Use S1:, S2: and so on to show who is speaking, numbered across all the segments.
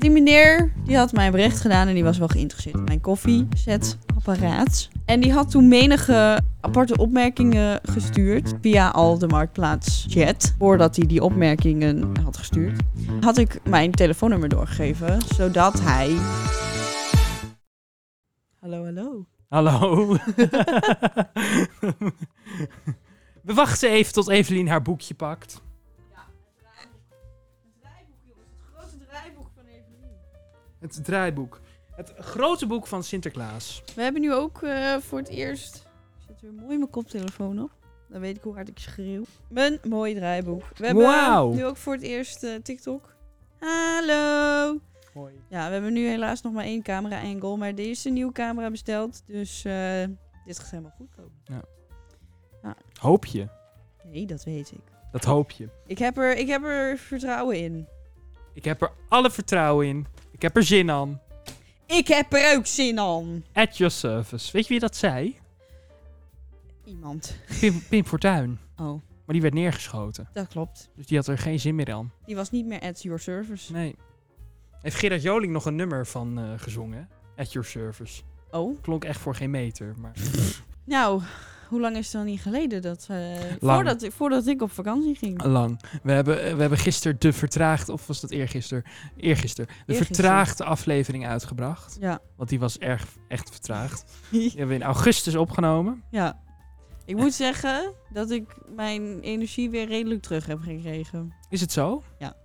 S1: Die meneer die had mij een bericht gedaan en die was wel geïnteresseerd in mijn koffiezetapparaat. En die had toen menige aparte opmerkingen gestuurd via al de marktplaats chat. Voordat hij die opmerkingen had gestuurd, had ik mijn telefoonnummer doorgegeven, zodat hij. Hallo, hallo.
S2: Hallo. We wachten even tot Evelien haar boekje pakt.
S1: Het draaiboek, jongens, het grote draaiboek van Evelien.
S2: Het draaiboek. Het grote boek van Sinterklaas.
S1: We hebben nu ook eh, voor het eerst. Ik zet weer mooi mijn koptelefoon op. Dan weet ik hoe hard ik schreeuw. Mijn mooi draaiboek. We hebben
S2: Wauw.
S1: nu ook voor het eerst eh, TikTok. Hallo.
S2: Mooi.
S1: Ja, we hebben nu helaas nog maar één camera angle. Maar er is een nieuwe camera besteld. Dus eh, dit gaat helemaal goed komen.
S2: Hoop je.
S1: Nee, dat weet ik.
S2: Dat hoop je.
S1: Ik heb er, ik heb er vertrouwen in.
S2: Ik heb er alle vertrouwen in. Ik heb er zin aan.
S1: Ik heb er ook zin aan.
S2: At your service. Weet je wie dat zei?
S1: Iemand.
S2: Pim, Pim Fortuyn.
S1: Oh,
S2: Maar die werd neergeschoten.
S1: dat klopt.
S2: Dus die had er geen zin meer aan.
S1: Die was niet meer at your service.
S2: Nee. Heeft Gerard Joling nog een nummer van eh, gezongen? At your service.
S1: Oh.
S2: Klonk echt voor geen meter. Maar...
S1: Nou, hoe lang is het dan niet geleden dat. eh,
S2: Lang.
S1: voordat, ik- voordat ik op vakantie ging.
S2: Lang. We hebben, eh, we hebben gisteren de vertraagde, of was dat eergisteren? Eergisteren. De
S1: Eergisteren.
S2: vertraagde aflevering uitgebracht.
S1: Ja.
S2: Want die was erg, echt vertraagd. Die hebben we in augustus opgenomen.
S1: ja. Ik moet zeggen dat ik mijn energie weer redelijk terug heb gekregen.
S2: Is het zo?
S1: Ja.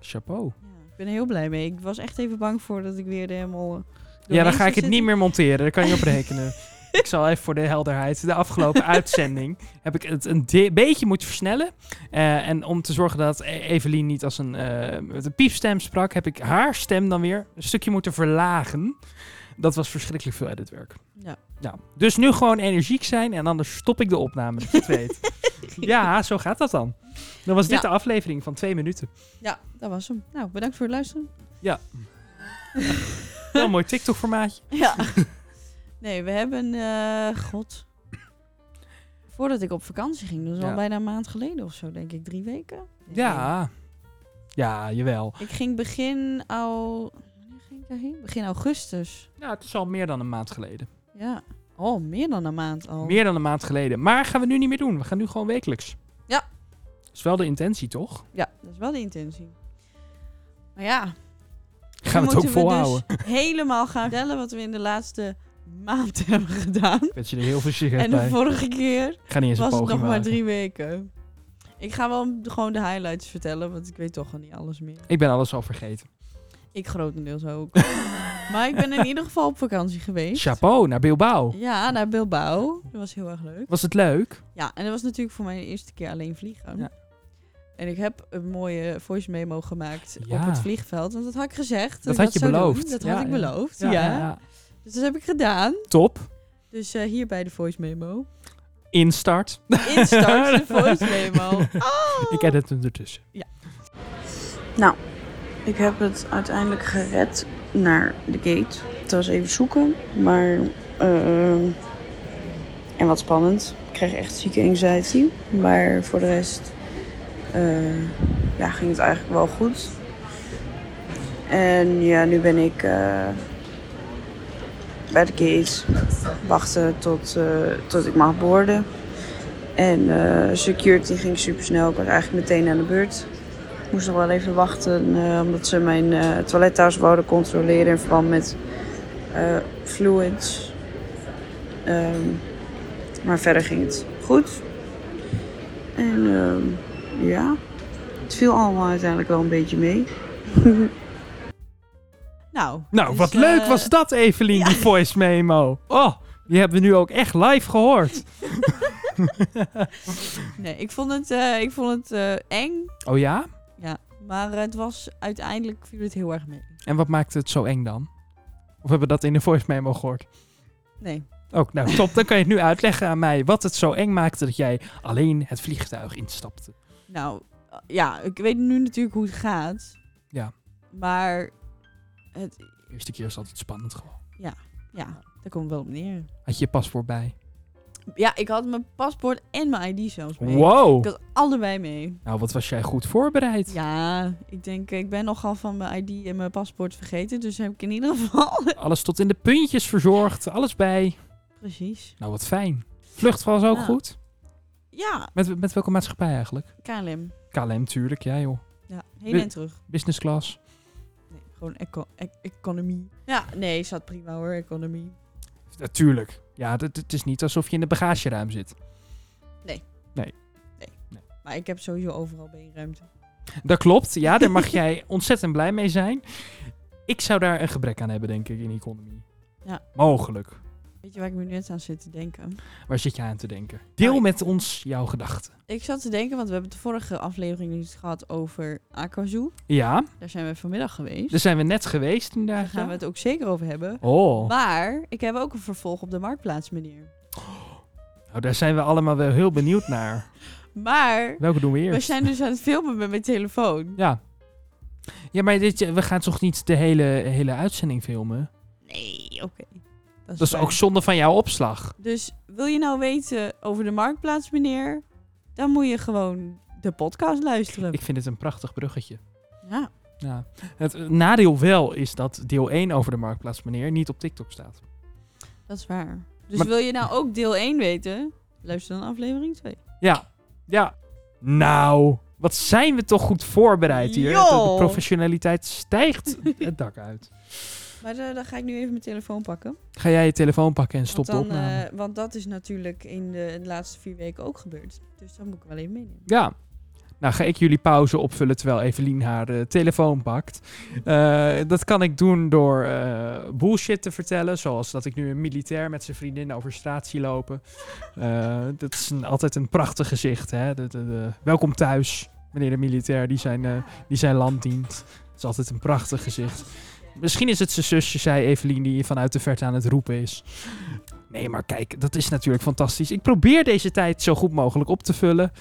S2: Chapeau.
S1: Ja, ik ben er heel blij mee. Ik was echt even bang voor dat ik weer er helemaal. eh,
S2: ja, dan
S1: doorheen
S2: ga ik
S1: zou
S2: het niet
S1: zitten.
S2: meer monteren. Daar kan je op rekenen. ik zal even voor de helderheid. De afgelopen uitzending heb ik het een di- beetje moeten versnellen. Eh, en om te zorgen dat E- Evelien niet als een, eh, met een piepstem sprak, heb ik haar stem dan weer een stukje moeten verlagen. Dat was verschrikkelijk veel editwerk.
S1: Ja.
S2: Ja. Dus nu gewoon energiek zijn en anders stop ik de opname. Dat je het weet. ja, zo gaat dat dan. Dan was dit
S1: Ja.
S2: de aflevering van twee minuten.
S1: Ja, dat was hem. Nou, bedankt voor het luisteren.
S2: Heel mooi TikTok-formaatje.
S1: Ja. nee, we hebben. eh, God. Voordat ik op vakantie ging, dat is al
S2: Ja.
S1: bijna een maand geleden of zo, denk ik. Drie weken? Nee.
S2: Ja. Ja, jawel.
S1: Ik ging begin al. Wanneer ging ik daarheen? Begin augustus.
S2: Nou, het is al meer dan een maand geleden.
S1: Ja. Oh, meer dan een maand al.
S2: Meer dan een maand geleden. Maar gaan we nu niet meer doen. We gaan nu gewoon wekelijks.
S1: Ja.
S2: Is wel de intentie, toch?
S1: Ja, dat is wel de intentie. Maar ja, dan
S2: Gaan we het
S1: moeten
S2: ook volhouden?
S1: dus helemaal gaan vertellen wat we in de laatste maand hebben gedaan.
S2: Ik weet je er heel voorzichtig
S1: en de
S2: bij.
S1: vorige keer
S2: Ik ga niet eens een
S1: was het nog
S2: poging
S1: maar
S2: maken.
S1: drie weken. Ik ga wel gewoon de highlights vertellen, want ik weet toch al niet alles meer.
S2: Ik ben alles al vergeten.
S1: Ik grotendeels ook. maar ik ben in ieder geval op vakantie geweest.
S2: Chapeau, naar Bilbao.
S1: Ja, naar Bilbao. Dat was heel erg leuk.
S2: Was het leuk?
S1: Ja, en dat was natuurlijk voor mij de eerste keer alleen vliegen.
S2: Ja.
S1: En ik heb een mooie voice memo gemaakt op
S2: Ja.
S1: het vliegveld. Want dat had ik gezegd.
S2: Dat
S1: ik
S2: had je
S1: zou doen.
S2: beloofd.
S1: Dat
S2: Ja,
S1: had ik
S2: ja.
S1: beloofd, ja. Dus dat heb ik gedaan.
S2: Top.
S1: Dus eh, hier bij de voice memo.
S2: Instart.
S1: Instart de voice memo. Oh!
S2: Ik edit hem ertussen.
S1: Ik heb het uiteindelijk gered naar de gate. Het was even zoeken, maar. eh, en wat spannend. Ik kreeg echt zieke anxiety. Maar voor de rest. eh, ja, ging het eigenlijk wel goed. En ja, nu ben ik. eh, bij de gate. Wachten tot, eh, tot ik mag boarden. En eh, security ging super snel. Ik was eigenlijk meteen aan de beurt. Ik moest nog wel even wachten eh, omdat ze mijn eh toilettas wouden controleren in verband met eh, fluids. Ehm, maar verder ging het goed. En ehm, ja, het viel allemaal uiteindelijk wel een beetje mee. nou,
S2: Nou, wat leuk was dat, Evelien, die voice memo. Oh, die hebben we nu ook echt live gehoord.
S1: Nee, ik vond het, eh, ik vond het eng.
S2: Oh ja?
S1: Ja, maar het was uiteindelijk viel het heel erg mee.
S2: En wat maakte het zo eng dan? Of hebben we dat in de voice memo gehoord?
S1: Nee.
S2: Ook, nou top. Dan kan je het nu uitleggen aan mij wat het zo eng maakte dat jij alleen het vliegtuig instapte.
S1: Nou, ja, ik weet nu natuurlijk hoe het gaat.
S2: Ja.
S1: Maar het,
S2: De eerste keer is altijd spannend gewoon.
S1: ja, daar komt wel op neer.
S2: Had je je paspoort bij?
S1: Ja, ik had mijn paspoort en mijn ID zelfs mee. Ik
S2: Wow.
S1: had allebei mee.
S2: Nou, wat was jij goed voorbereid?
S1: Ja, ik denk, ik ben nogal van mijn ID en mijn paspoort vergeten. Dus heb ik in ieder geval.
S2: Alles tot in de puntjes verzorgd, alles bij.
S1: Precies.
S2: Nou, wat fijn. Vlucht was ook
S1: Ja.
S2: goed.
S1: Ja,
S2: Met, met welke maatschappij eigenlijk?
S1: KLM.
S2: KLM, tuurlijk. Ja, joh.
S1: Ja, heen
S2: Dus-
S1: en terug.
S2: Business class.
S1: Nee, gewoon eco e- economie. Ja, nee, zat prima hoor, economie.
S2: Natuurlijk. Eh, Ja, het- het is niet alsof je in de bagageruim zit.
S1: Maar ik heb sowieso overal beenruimte.
S2: Dat klopt. Ja, daar mag jij ontzettend blij mee zijn. Ik zou daar een gebrek aan hebben, denk ik, in economie.
S1: Ja.
S2: Mogelijk.
S1: Weet je waar ik me net aan zit te denken?
S2: Waar zit je aan te denken? Deel
S1: Nou, ik-
S2: met ons jouw gedachten.
S1: Ik zat te denken, want we hebben de vorige aflevering niet gehad over Aquazoo.
S2: Ja,
S1: Daar zijn we vanmiddag geweest.
S2: daar zijn we net geweest inderdaad.
S1: Daar gaan we het ook zeker over hebben.
S2: Oh,
S1: Maar ik heb ook een vervolg op de marktplaats, meneer.
S2: nou, daar zijn we allemaal wel heel benieuwd naar.
S1: Maar
S2: Welke doen we
S1: we
S2: eerst?
S1: zijn dus aan het filmen met mijn telefoon.
S2: Ja. Ja, maar dit, we gaan toch niet de hele, hele uitzending filmen?
S1: Nee, oké.
S2: Dat is
S1: fijn.
S2: ook zonde van jouw opslag.
S1: Dus wil je nou weten over de marktplaats, meneer? Dan moet je gewoon de podcast luisteren.
S2: Ik vind het een prachtig bruggetje.
S1: Ja.
S2: Ja. Het eh, nadeel wel is dat deel 1 over de Marktplaats Meneer niet op TikTok staat.
S1: Dat is waar. Dus
S2: Maar-
S1: wil je nou ook deel 1 weten? Luister dan aflevering 2.
S2: Ja, ja. Nou, wat zijn we toch goed voorbereid hier.
S1: Yo!
S2: De, de professionaliteit stijgt het dak uit.
S1: Maar eh, dan ga ik nu even mijn telefoon pakken.
S2: Ga jij je telefoon pakken en stop
S1: want, dan,
S2: de opname.
S1: eh, want dat is natuurlijk in de, de laatste vier weken ook gebeurd. Dus dat moet ik wel even meenemen.
S2: Ja. Nou, ga ik jullie pauze opvullen terwijl Evelien haar eh, telefoon pakt. Eh, dat kan ik doen door eh, bullshit te vertellen. Zoals dat ik nu een militair met zijn vriendin over straat zie lopen. Eh, dat is een- altijd een prachtig gezicht. Hè? De, de- de- welkom thuis, meneer de militair die zijn, eh, die zijn land dient. Dat is altijd een prachtig gezicht. Misschien is het zijn zusje, zei Evelien, die vanuit de verte aan het roepen is. Nee, maar kijk, dat is natuurlijk fantastisch. Ik probeer deze tijd zo goed mogelijk op te vullen.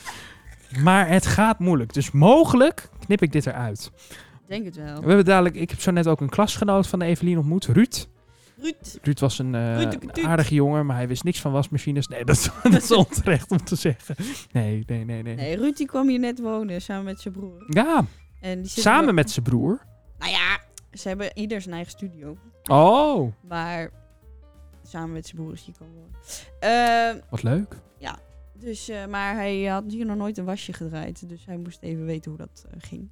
S2: Maar het gaat moeilijk. Dus mogelijk knip ik dit eruit.
S1: Ik Denk het wel.
S2: We hebben dadelijk, ik heb zo net ook een klasgenoot van Evelien ontmoet, Ruud.
S1: Ruud.
S2: Ruud was een, eh,
S1: Ruud de Kutuut.
S2: een aardige jongen, maar hij wist niks van wasmachines. Nee, dat, is- dat is onterecht om te zeggen. Nee, nee, nee, nee.
S1: Nee, Ruud die kwam hier net wonen samen met zijn broer.
S2: Ja,
S1: En die zitten
S2: samen
S1: wel-
S2: met zijn broer.
S1: Nou ja, ze hebben ieder zijn eigen studio.
S2: Oh,
S1: Maar samen met zijn broer is hij komen wonen. Ehm,
S2: wat leuk.
S1: dus, eh, maar hij had hier nog nooit een wasje gedraaid. Dus hij moest even weten hoe dat eh, ging.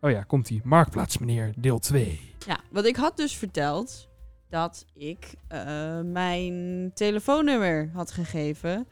S2: Oh ja, komt ie. Marktplaats, meneer, deel 2.
S1: Ja, want ik had dus verteld dat ik eh, mijn telefoonnummer had gegeven.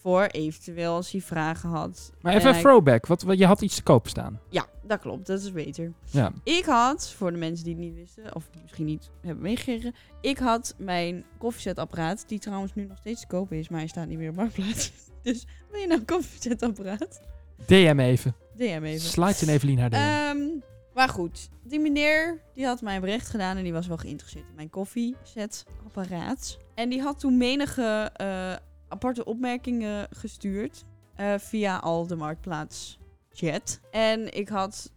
S1: Voor eventueel als hij vragen had.
S2: Maar
S1: En
S2: even een
S1: hij-
S2: throwback, wat, wat, je had iets te koop staan.
S1: Ja, dat klopt. Dat is beter.
S2: Ja.
S1: Ik had, voor de mensen die het niet wisten, of misschien niet hebben meegekregen. Ik had mijn koffiezetapparaat, die trouwens nu nog steeds te koop is, maar hij staat niet meer op marktplaats. Dus wil je nou een koffiezetapparaat?
S2: DM even.
S1: DM even.
S2: Slide in Evelien haar DM.
S1: Ehm, maar goed, die meneer die had mij een bericht gedaan en die was wel geïnteresseerd in mijn koffiezetapparaat. En die had toen menige eh, aparte opmerkingen gestuurd eh, via al de marktplaats chat. En ik had,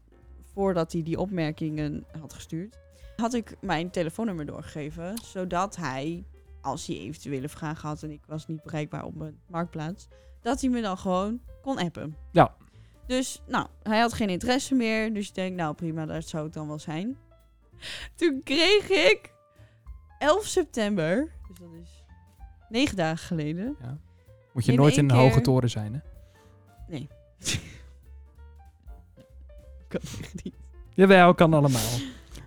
S1: voordat hij die opmerkingen had gestuurd, had ik mijn telefoonnummer doorgegeven, zodat hij, als hij eventuele vragen had en ik was niet bereikbaar op mijn marktplaats, dat hij me dan gewoon kon appen.
S2: Ja.
S1: Dus, nou, hij had geen interesse meer. Dus ik denk, nou prima, dat zou het dan wel zijn. Toen kreeg ik 11 september, dus dat is negen dagen geleden.
S2: Moet je
S1: in
S2: nooit
S1: één
S2: in een
S1: keer-
S2: hoge toren zijn, hè?
S1: Kan echt niet.
S2: Jawel, kan allemaal.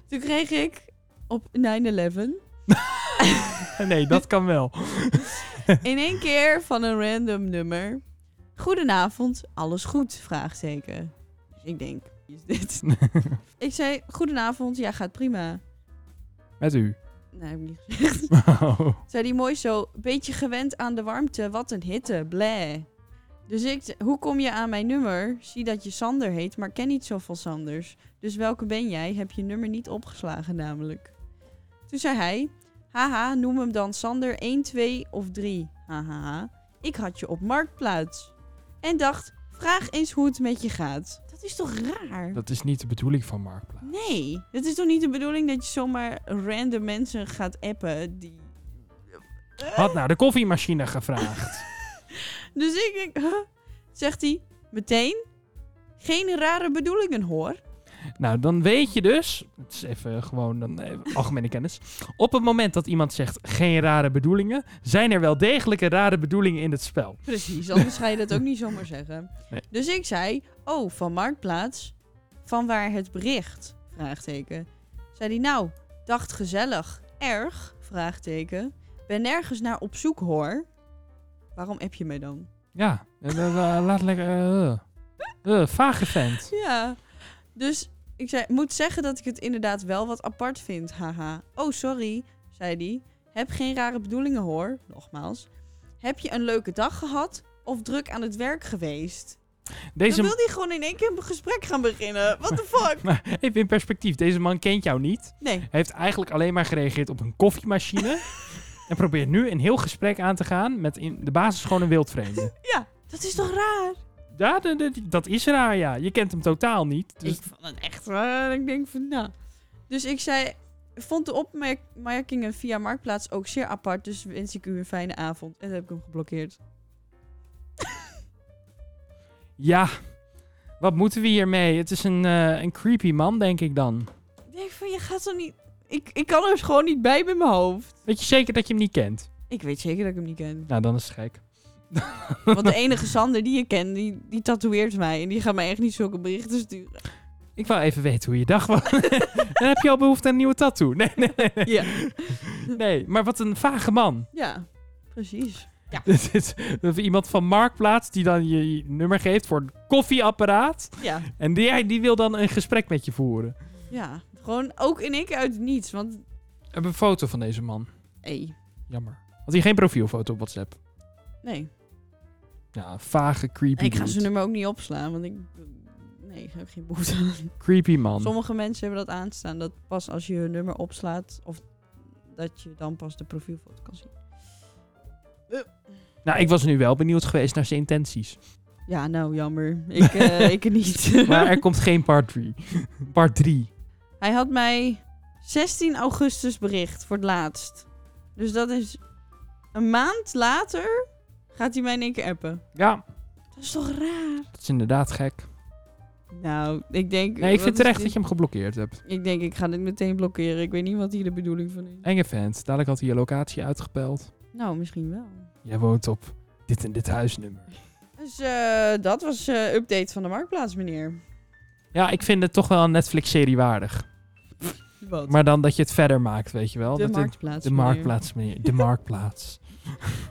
S1: Toen kreeg ik op 9-11
S2: nee, dat kan wel.
S1: in één keer van een random nummer. Goedenavond, alles goed? Vraagteken. Dus ik denk, wie is dit? ik zei, goedenavond, ja gaat prima.
S2: Met u.
S1: Nee, heb ik niet gezegd. Zei die mooi zo, beetje gewend aan de warmte, wat een hitte, bleh. Dus ik, z- hoe kom je aan mijn nummer? Zie dat je Sander heet, maar ken niet zoveel Sanders. Dus welke ben jij? Heb je nummer niet opgeslagen namelijk. Toen zei hij, haha, noem hem dan Sander 1, 2 of 3. Haha, ik had je op Marktplaats. En dacht, vraag eens hoe het met je gaat. Dat is toch raar?
S2: Dat is niet de bedoeling van Marktplaats.
S1: Nee, het is toch niet de bedoeling dat je zomaar random mensen gaat appen die
S2: Had nou de koffiemachine gevraagd.
S1: Dus ik denk, huh? zegt hij meteen, geen rare bedoelingen hoor.
S2: Nou, dan weet je dus, het is even gewoon dan, eh, algemene kennis. Op het moment dat iemand zegt geen rare bedoelingen, zijn er wel degelijke rare bedoelingen in het spel.
S1: Precies, anders ga je dat ook niet zomaar zeggen.
S2: Nee.
S1: Dus ik zei, oh, van Marktplaats, van waar het bericht? Vraagteken. Zei hij, nou, dacht gezellig, erg? Vraagteken. Ben nergens naar op zoek hoor. Waarom heb je mij dan?
S2: Ja, eh, eh, eh, laat lekker. eh, eh, eh, vage vent.
S1: Ja, dus ik zei, moet zeggen dat ik het inderdaad wel wat apart vind, haha. Oh, sorry, zei hij. Heb geen rare bedoelingen hoor, nogmaals. Heb je een leuke dag gehad of druk aan het werk geweest?
S2: Deze
S1: Dan wil hij gewoon in één keer een gesprek gaan beginnen. What the fuck?
S2: Maar even in perspectief, deze man kent jou niet.
S1: Nee.
S2: Hij heeft eigenlijk alleen maar gereageerd op een koffiemachine. en probeert nu een heel gesprek aan te gaan met in de basis gewoon een wildvreemde.
S1: Ja, dat is toch raar?
S2: ja, de- de- dat is raar, ja. Je kent hem totaal niet. Dus
S1: ik vond het echt raar. Ik denk van, nou... Dus ik zei... Vond de opmerkingen via Marktplaats ook zeer apart. Dus wens ik u een fijne avond. En dan heb ik hem geblokkeerd.
S2: ja, wat moeten we hiermee? Het is een, eh, een creepy man, denk ik dan.
S1: Ik denk van, je gaat toch niet... Ik, ik kan er gewoon niet bij met mijn hoofd.
S2: Weet je zeker dat je hem niet kent?
S1: Ik weet zeker dat ik hem niet ken.
S2: Nou, dan is het gek.
S1: Want de enige Sander die je kent, die, die tatoeëert mij. En die gaat mij echt niet zulke berichten sturen.
S2: Ik wou even weten hoe je dag was. dan heb je al behoefte aan een nieuwe tattoo. Nee, nee, nee.
S1: Ja,
S2: nee. Maar wat een vage man.
S1: ja precies.
S2: Dit is dat iemand van Marktplaats die dan je je nummer geeft voor een koffieapparaat.
S1: Ja.
S2: En die, die wil dan een gesprek met je voeren.
S1: Ja, gewoon ook in één keer uit het niets. Want,
S2: We hebben een foto van deze man.
S1: hé,
S2: Jammer. Had hij geen profielfoto op WhatsApp?
S1: nee.
S2: Ja, vage, creepy
S1: Ik ga
S2: dude.
S1: zijn nummer ook niet opslaan, want ik... Nee, ik heb geen behoefte aan.
S2: Creepy man.
S1: Sommige mensen hebben dat aanstaan, dat pas als je hun nummer opslaat... of dat je dan pas de profielfoto kan zien.
S2: Nou, ik was nu wel benieuwd geweest naar zijn intenties.
S1: Ja, nou, jammer. Ik, eh, ik niet.
S2: Maar er komt geen part 3. Part 3.
S1: Hij had mij 16 augustus bericht voor het laatst. Dus dat is... Een maand later gaat hij mij in één keer appen.
S2: Ja,
S1: Dat is toch raar?
S2: dat is inderdaad gek.
S1: Nou, ik denk...
S2: Nee, ik
S1: wat
S2: vind
S1: is
S2: terecht
S1: dit?
S2: dat je Eh. hem geblokkeerd hebt.
S1: Ik denk, ik ga dit meteen blokkeren. Ik weet niet wat hier de bedoeling van is.
S2: Enge vent. Dadelijk had hij je locatie uitgepeld.
S1: Nou, misschien wel.
S2: Jij woont op dit en dit huisnummer.
S1: Dus eh, dat was eh update van de marktplaats, meneer.
S2: Ja, ik vind het toch wel een Netflix-serie waardig.
S1: Wat?
S2: Maar dan dat je het verder maakt, weet je wel.
S1: de
S2: dat het-
S1: marktplaats.
S2: de
S1: meneer.
S2: marktplaats, meneer. De marktplaats.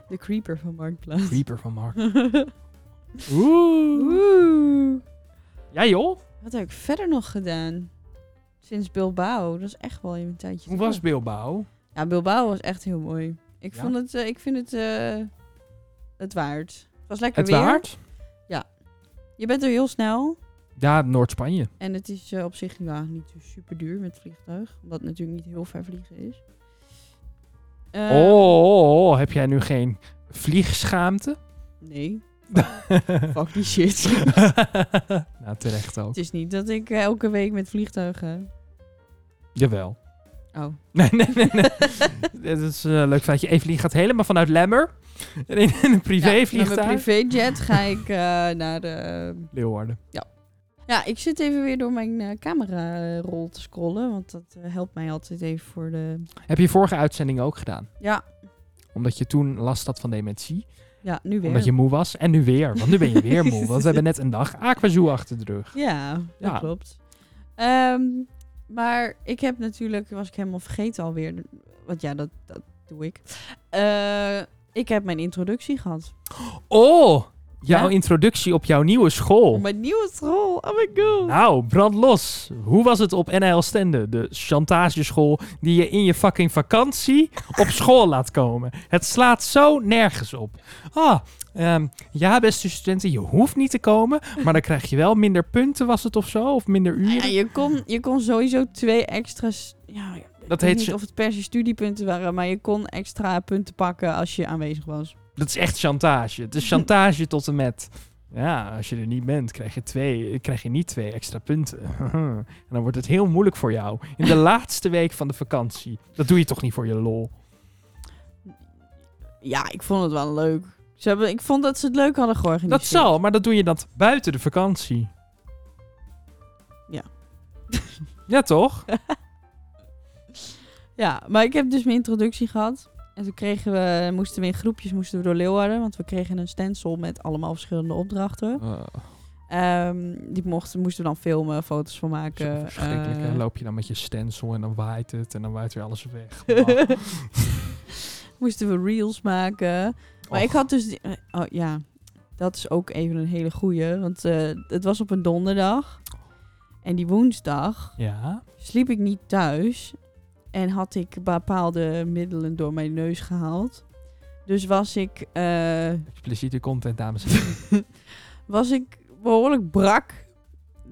S1: De creeper van marktplaats.
S2: Creeper van Mark. Oeh.
S1: Oeh.
S2: Ja joh.
S1: Wat heb ik verder nog gedaan? Sinds Bilbao. Dat is echt wel even een tijdje.
S2: Hoe
S1: terug.
S2: was Bilbao?
S1: Ja, Bilbao was echt heel mooi. Ik
S2: Ja?
S1: vond het. eh, ik vind het. eh, het waard. Het was lekker
S2: Het
S1: weer.
S2: waard?
S1: Je bent er heel snel.
S2: Ja, Noord-Spanje.
S1: En het is eh, op zich nou, niet zo super duur met vliegtuig. Omdat het natuurlijk niet heel ver vliegen is. Eh,
S2: Oh, oh, oh, heb jij nu geen vliegschaamte?
S1: Nee, fuck die shit.
S2: nou, terecht ook.
S1: het is niet dat ik eh, elke week met vliegtuig ga.
S2: Jawel.
S1: Oh.
S2: Nee, nee, nee. nee. Dit is eh, een leuk feitje. Evelien gaat helemaal vanuit Lemmer. In een- in een
S1: Met mijn
S2: privévliegtuig.
S1: privéjet ga ik eh, naar de...
S2: Leeuwarden.
S1: Ja, ik zit even weer door mijn eh, camerarol te scrollen. Want dat eh, helpt mij altijd even voor de...
S2: Heb je vorige uitzending ook gedaan?
S1: Ja,
S2: Omdat je toen last had van dementie.
S1: ja nu weer.
S2: Omdat je moe was. En nu weer. Want nu ben je weer moe. Want we hebben net een dag Aquazoo achter de rug.
S1: Ja, dat
S2: Ja.
S1: klopt. Ehm, maar ik heb natuurlijk, was ik helemaal vergeten alweer. Want ja, dat, dat doe ik. Eh, ik heb mijn introductie gehad.
S2: Oh! Jouw
S1: Ja?
S2: introductie op jouw nieuwe
S1: Oh,
S2: school.
S1: mijn nieuwe rol. Oh my god.
S2: Nou, brand los. Hoe was het op NL Stende? De chantageschool die je in je fucking vakantie op school laat komen. Het slaat zo nergens op. Ah, ehm, ja beste studenten, je hoeft niet te komen. Maar dan krijg je wel minder punten was het of zo? Of minder
S1: Ja,
S2: uren?
S1: je, kon, je kon sowieso twee extra... s- Ja, ik weet
S2: Dat heet...
S1: niet
S2: cha-
S1: of het per se studiepunten waren, maar je kon extra punten pakken als je aanwezig was.
S2: Dat is echt chantage. Het is chantage tot en met. Ja, als je er niet bent, krijg je, twee, krijg je niet twee extra punten. en dan wordt het heel moeilijk voor jou. In de laatste week van de vakantie. Dat doe je toch niet voor je lol?
S1: Ja, ik vond het wel leuk. Ze hebben, ik vond dat ze het leuk hadden georganiseerd.
S2: Dat zal, maar dat doe je dat buiten de vakantie.
S1: Ja.
S2: ja, toch?
S1: Ja, maar ik heb dus mijn introductie gehad. En toen kregen we, moesten we in groepjes moesten we door Leeuwarden. Want we kregen een stencil met allemaal verschillende opdrachten.
S2: Oh,
S1: Ehm, die mochten, moesten we dan filmen, foto's van maken.
S2: Zo verschrikkelijk. hè?
S1: eh,
S2: Loop je dan met je stencil en dan waait het en dan waait weer alles weg. Bah.
S1: moesten we reels maken. Maar
S2: Och.
S1: ik had dus... die- eh, oh ja, dat is ook even een hele goeie. Want eh, het was op een donderdag. En die woensdag
S2: Ja.
S1: sliep ik niet thuis. En had ik bepaalde middelen door mijn neus gehaald. Dus was ik, eh,
S2: Expliciete content, dames en heren.
S1: was ik behoorlijk brak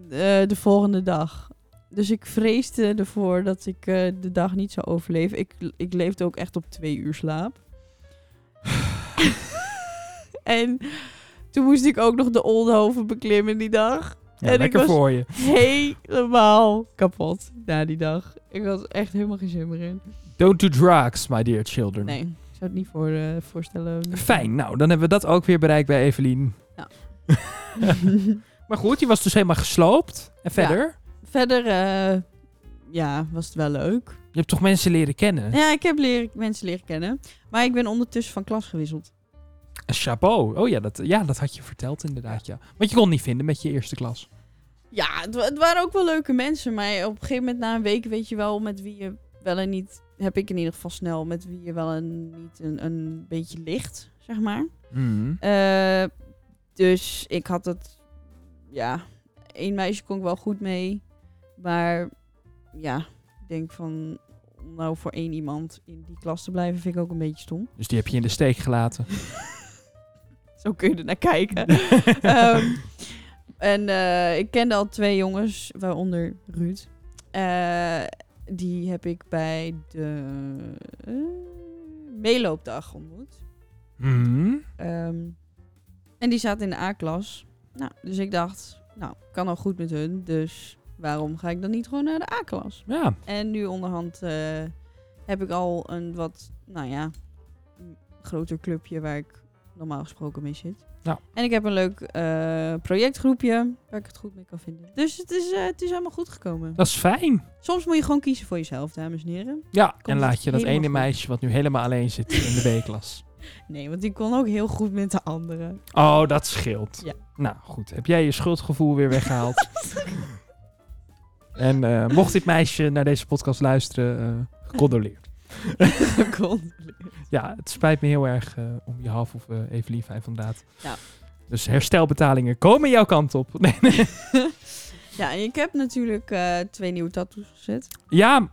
S1: eh, de volgende dag. Dus ik vreesde ervoor dat ik eh, de dag niet zou overleven. Ik, ik leefde ook echt op twee uur slaap. en toen moest ik ook nog de Oldhoven beklimmen die dag. En
S2: Ja,
S1: ik
S2: lekker
S1: was-
S2: voor je.
S1: helemaal kapot na die dag. Ik was echt helemaal geen zin meer in.
S2: Don't do drugs, my dear children.
S1: Nee, ik zou het niet voor, eh, voorstellen.
S2: Fijn, nou, dan hebben we dat ook weer bereikt bij Evelien.
S1: Ja.
S2: maar goed, die was dus helemaal gesloopt. En verder?
S1: Verder eh, ja, was het wel leuk.
S2: Je hebt toch mensen leren kennen?
S1: Ja, ik heb leren, mensen leren kennen. Maar ik ben ondertussen van klas gewisseld.
S2: Een Chapeau. Oh ja dat, ja, dat had je verteld inderdaad, ja. Want je kon het niet vinden met je eerste klas.
S1: Ja, het, wa- het waren ook wel leuke mensen. Maar op een gegeven moment na een week weet je wel met wie je wel en niet... Heb ik in ieder geval snel met wie je wel en niet een, een beetje ligt, zeg maar.
S2: Mm.
S1: Eh, dus ik had het, ja, één meisje kon ik wel goed mee. Maar ja, ik denk van, om nou voor één iemand in die klas te blijven, vind ik ook een beetje stom.
S2: Dus die heb je in de steek gelaten.
S1: Zo kun je er naar kijken. Ehm, en eh, ik kende al twee jongens, waaronder Ruud. Eh, die heb ik bij de eh, meeloopdag ontmoet.
S2: Mhm.
S1: Ehm, en die zaten in de A-klas. Nou, dus ik dacht, nou, kan al goed met hun. Dus waarom ga ik dan niet gewoon naar de A-klas?
S2: Ja,
S1: En nu onderhand eh, heb ik al een wat, nou ja, een groter clubje waar ik normaal gesproken mee zit.
S2: Ja.
S1: En ik heb een leuk eh, projectgroepje waar ik het goed mee kan vinden. Dus het is, eh, het is allemaal goed gekomen.
S2: dat is fijn.
S1: Soms moet je gewoon kiezen voor jezelf, dames en heren.
S2: Ja, en
S1: het
S2: laat je dat
S1: helemaal
S2: ene
S1: goed.
S2: meisje wat nu helemaal alleen zit in de B-klas.
S1: Nee, want die kon ook heel goed met de anderen.
S2: Oh, dat scheelt.
S1: Ja.
S2: Nou goed, heb jij je schuldgevoel weer weggehaald? en eh, mocht dit meisje naar deze podcast luisteren, eh, gecondoleerd.
S1: kon.
S2: Ja, het spijt me heel erg eh, om je half of eh Evelien vijf inderdaad.
S1: Ja.
S2: Dus herstelbetalingen komen jouw kant op. Nee, nee.
S1: Ja, en ik heb natuurlijk eh, twee nieuwe tattoos gezet.
S2: Ja,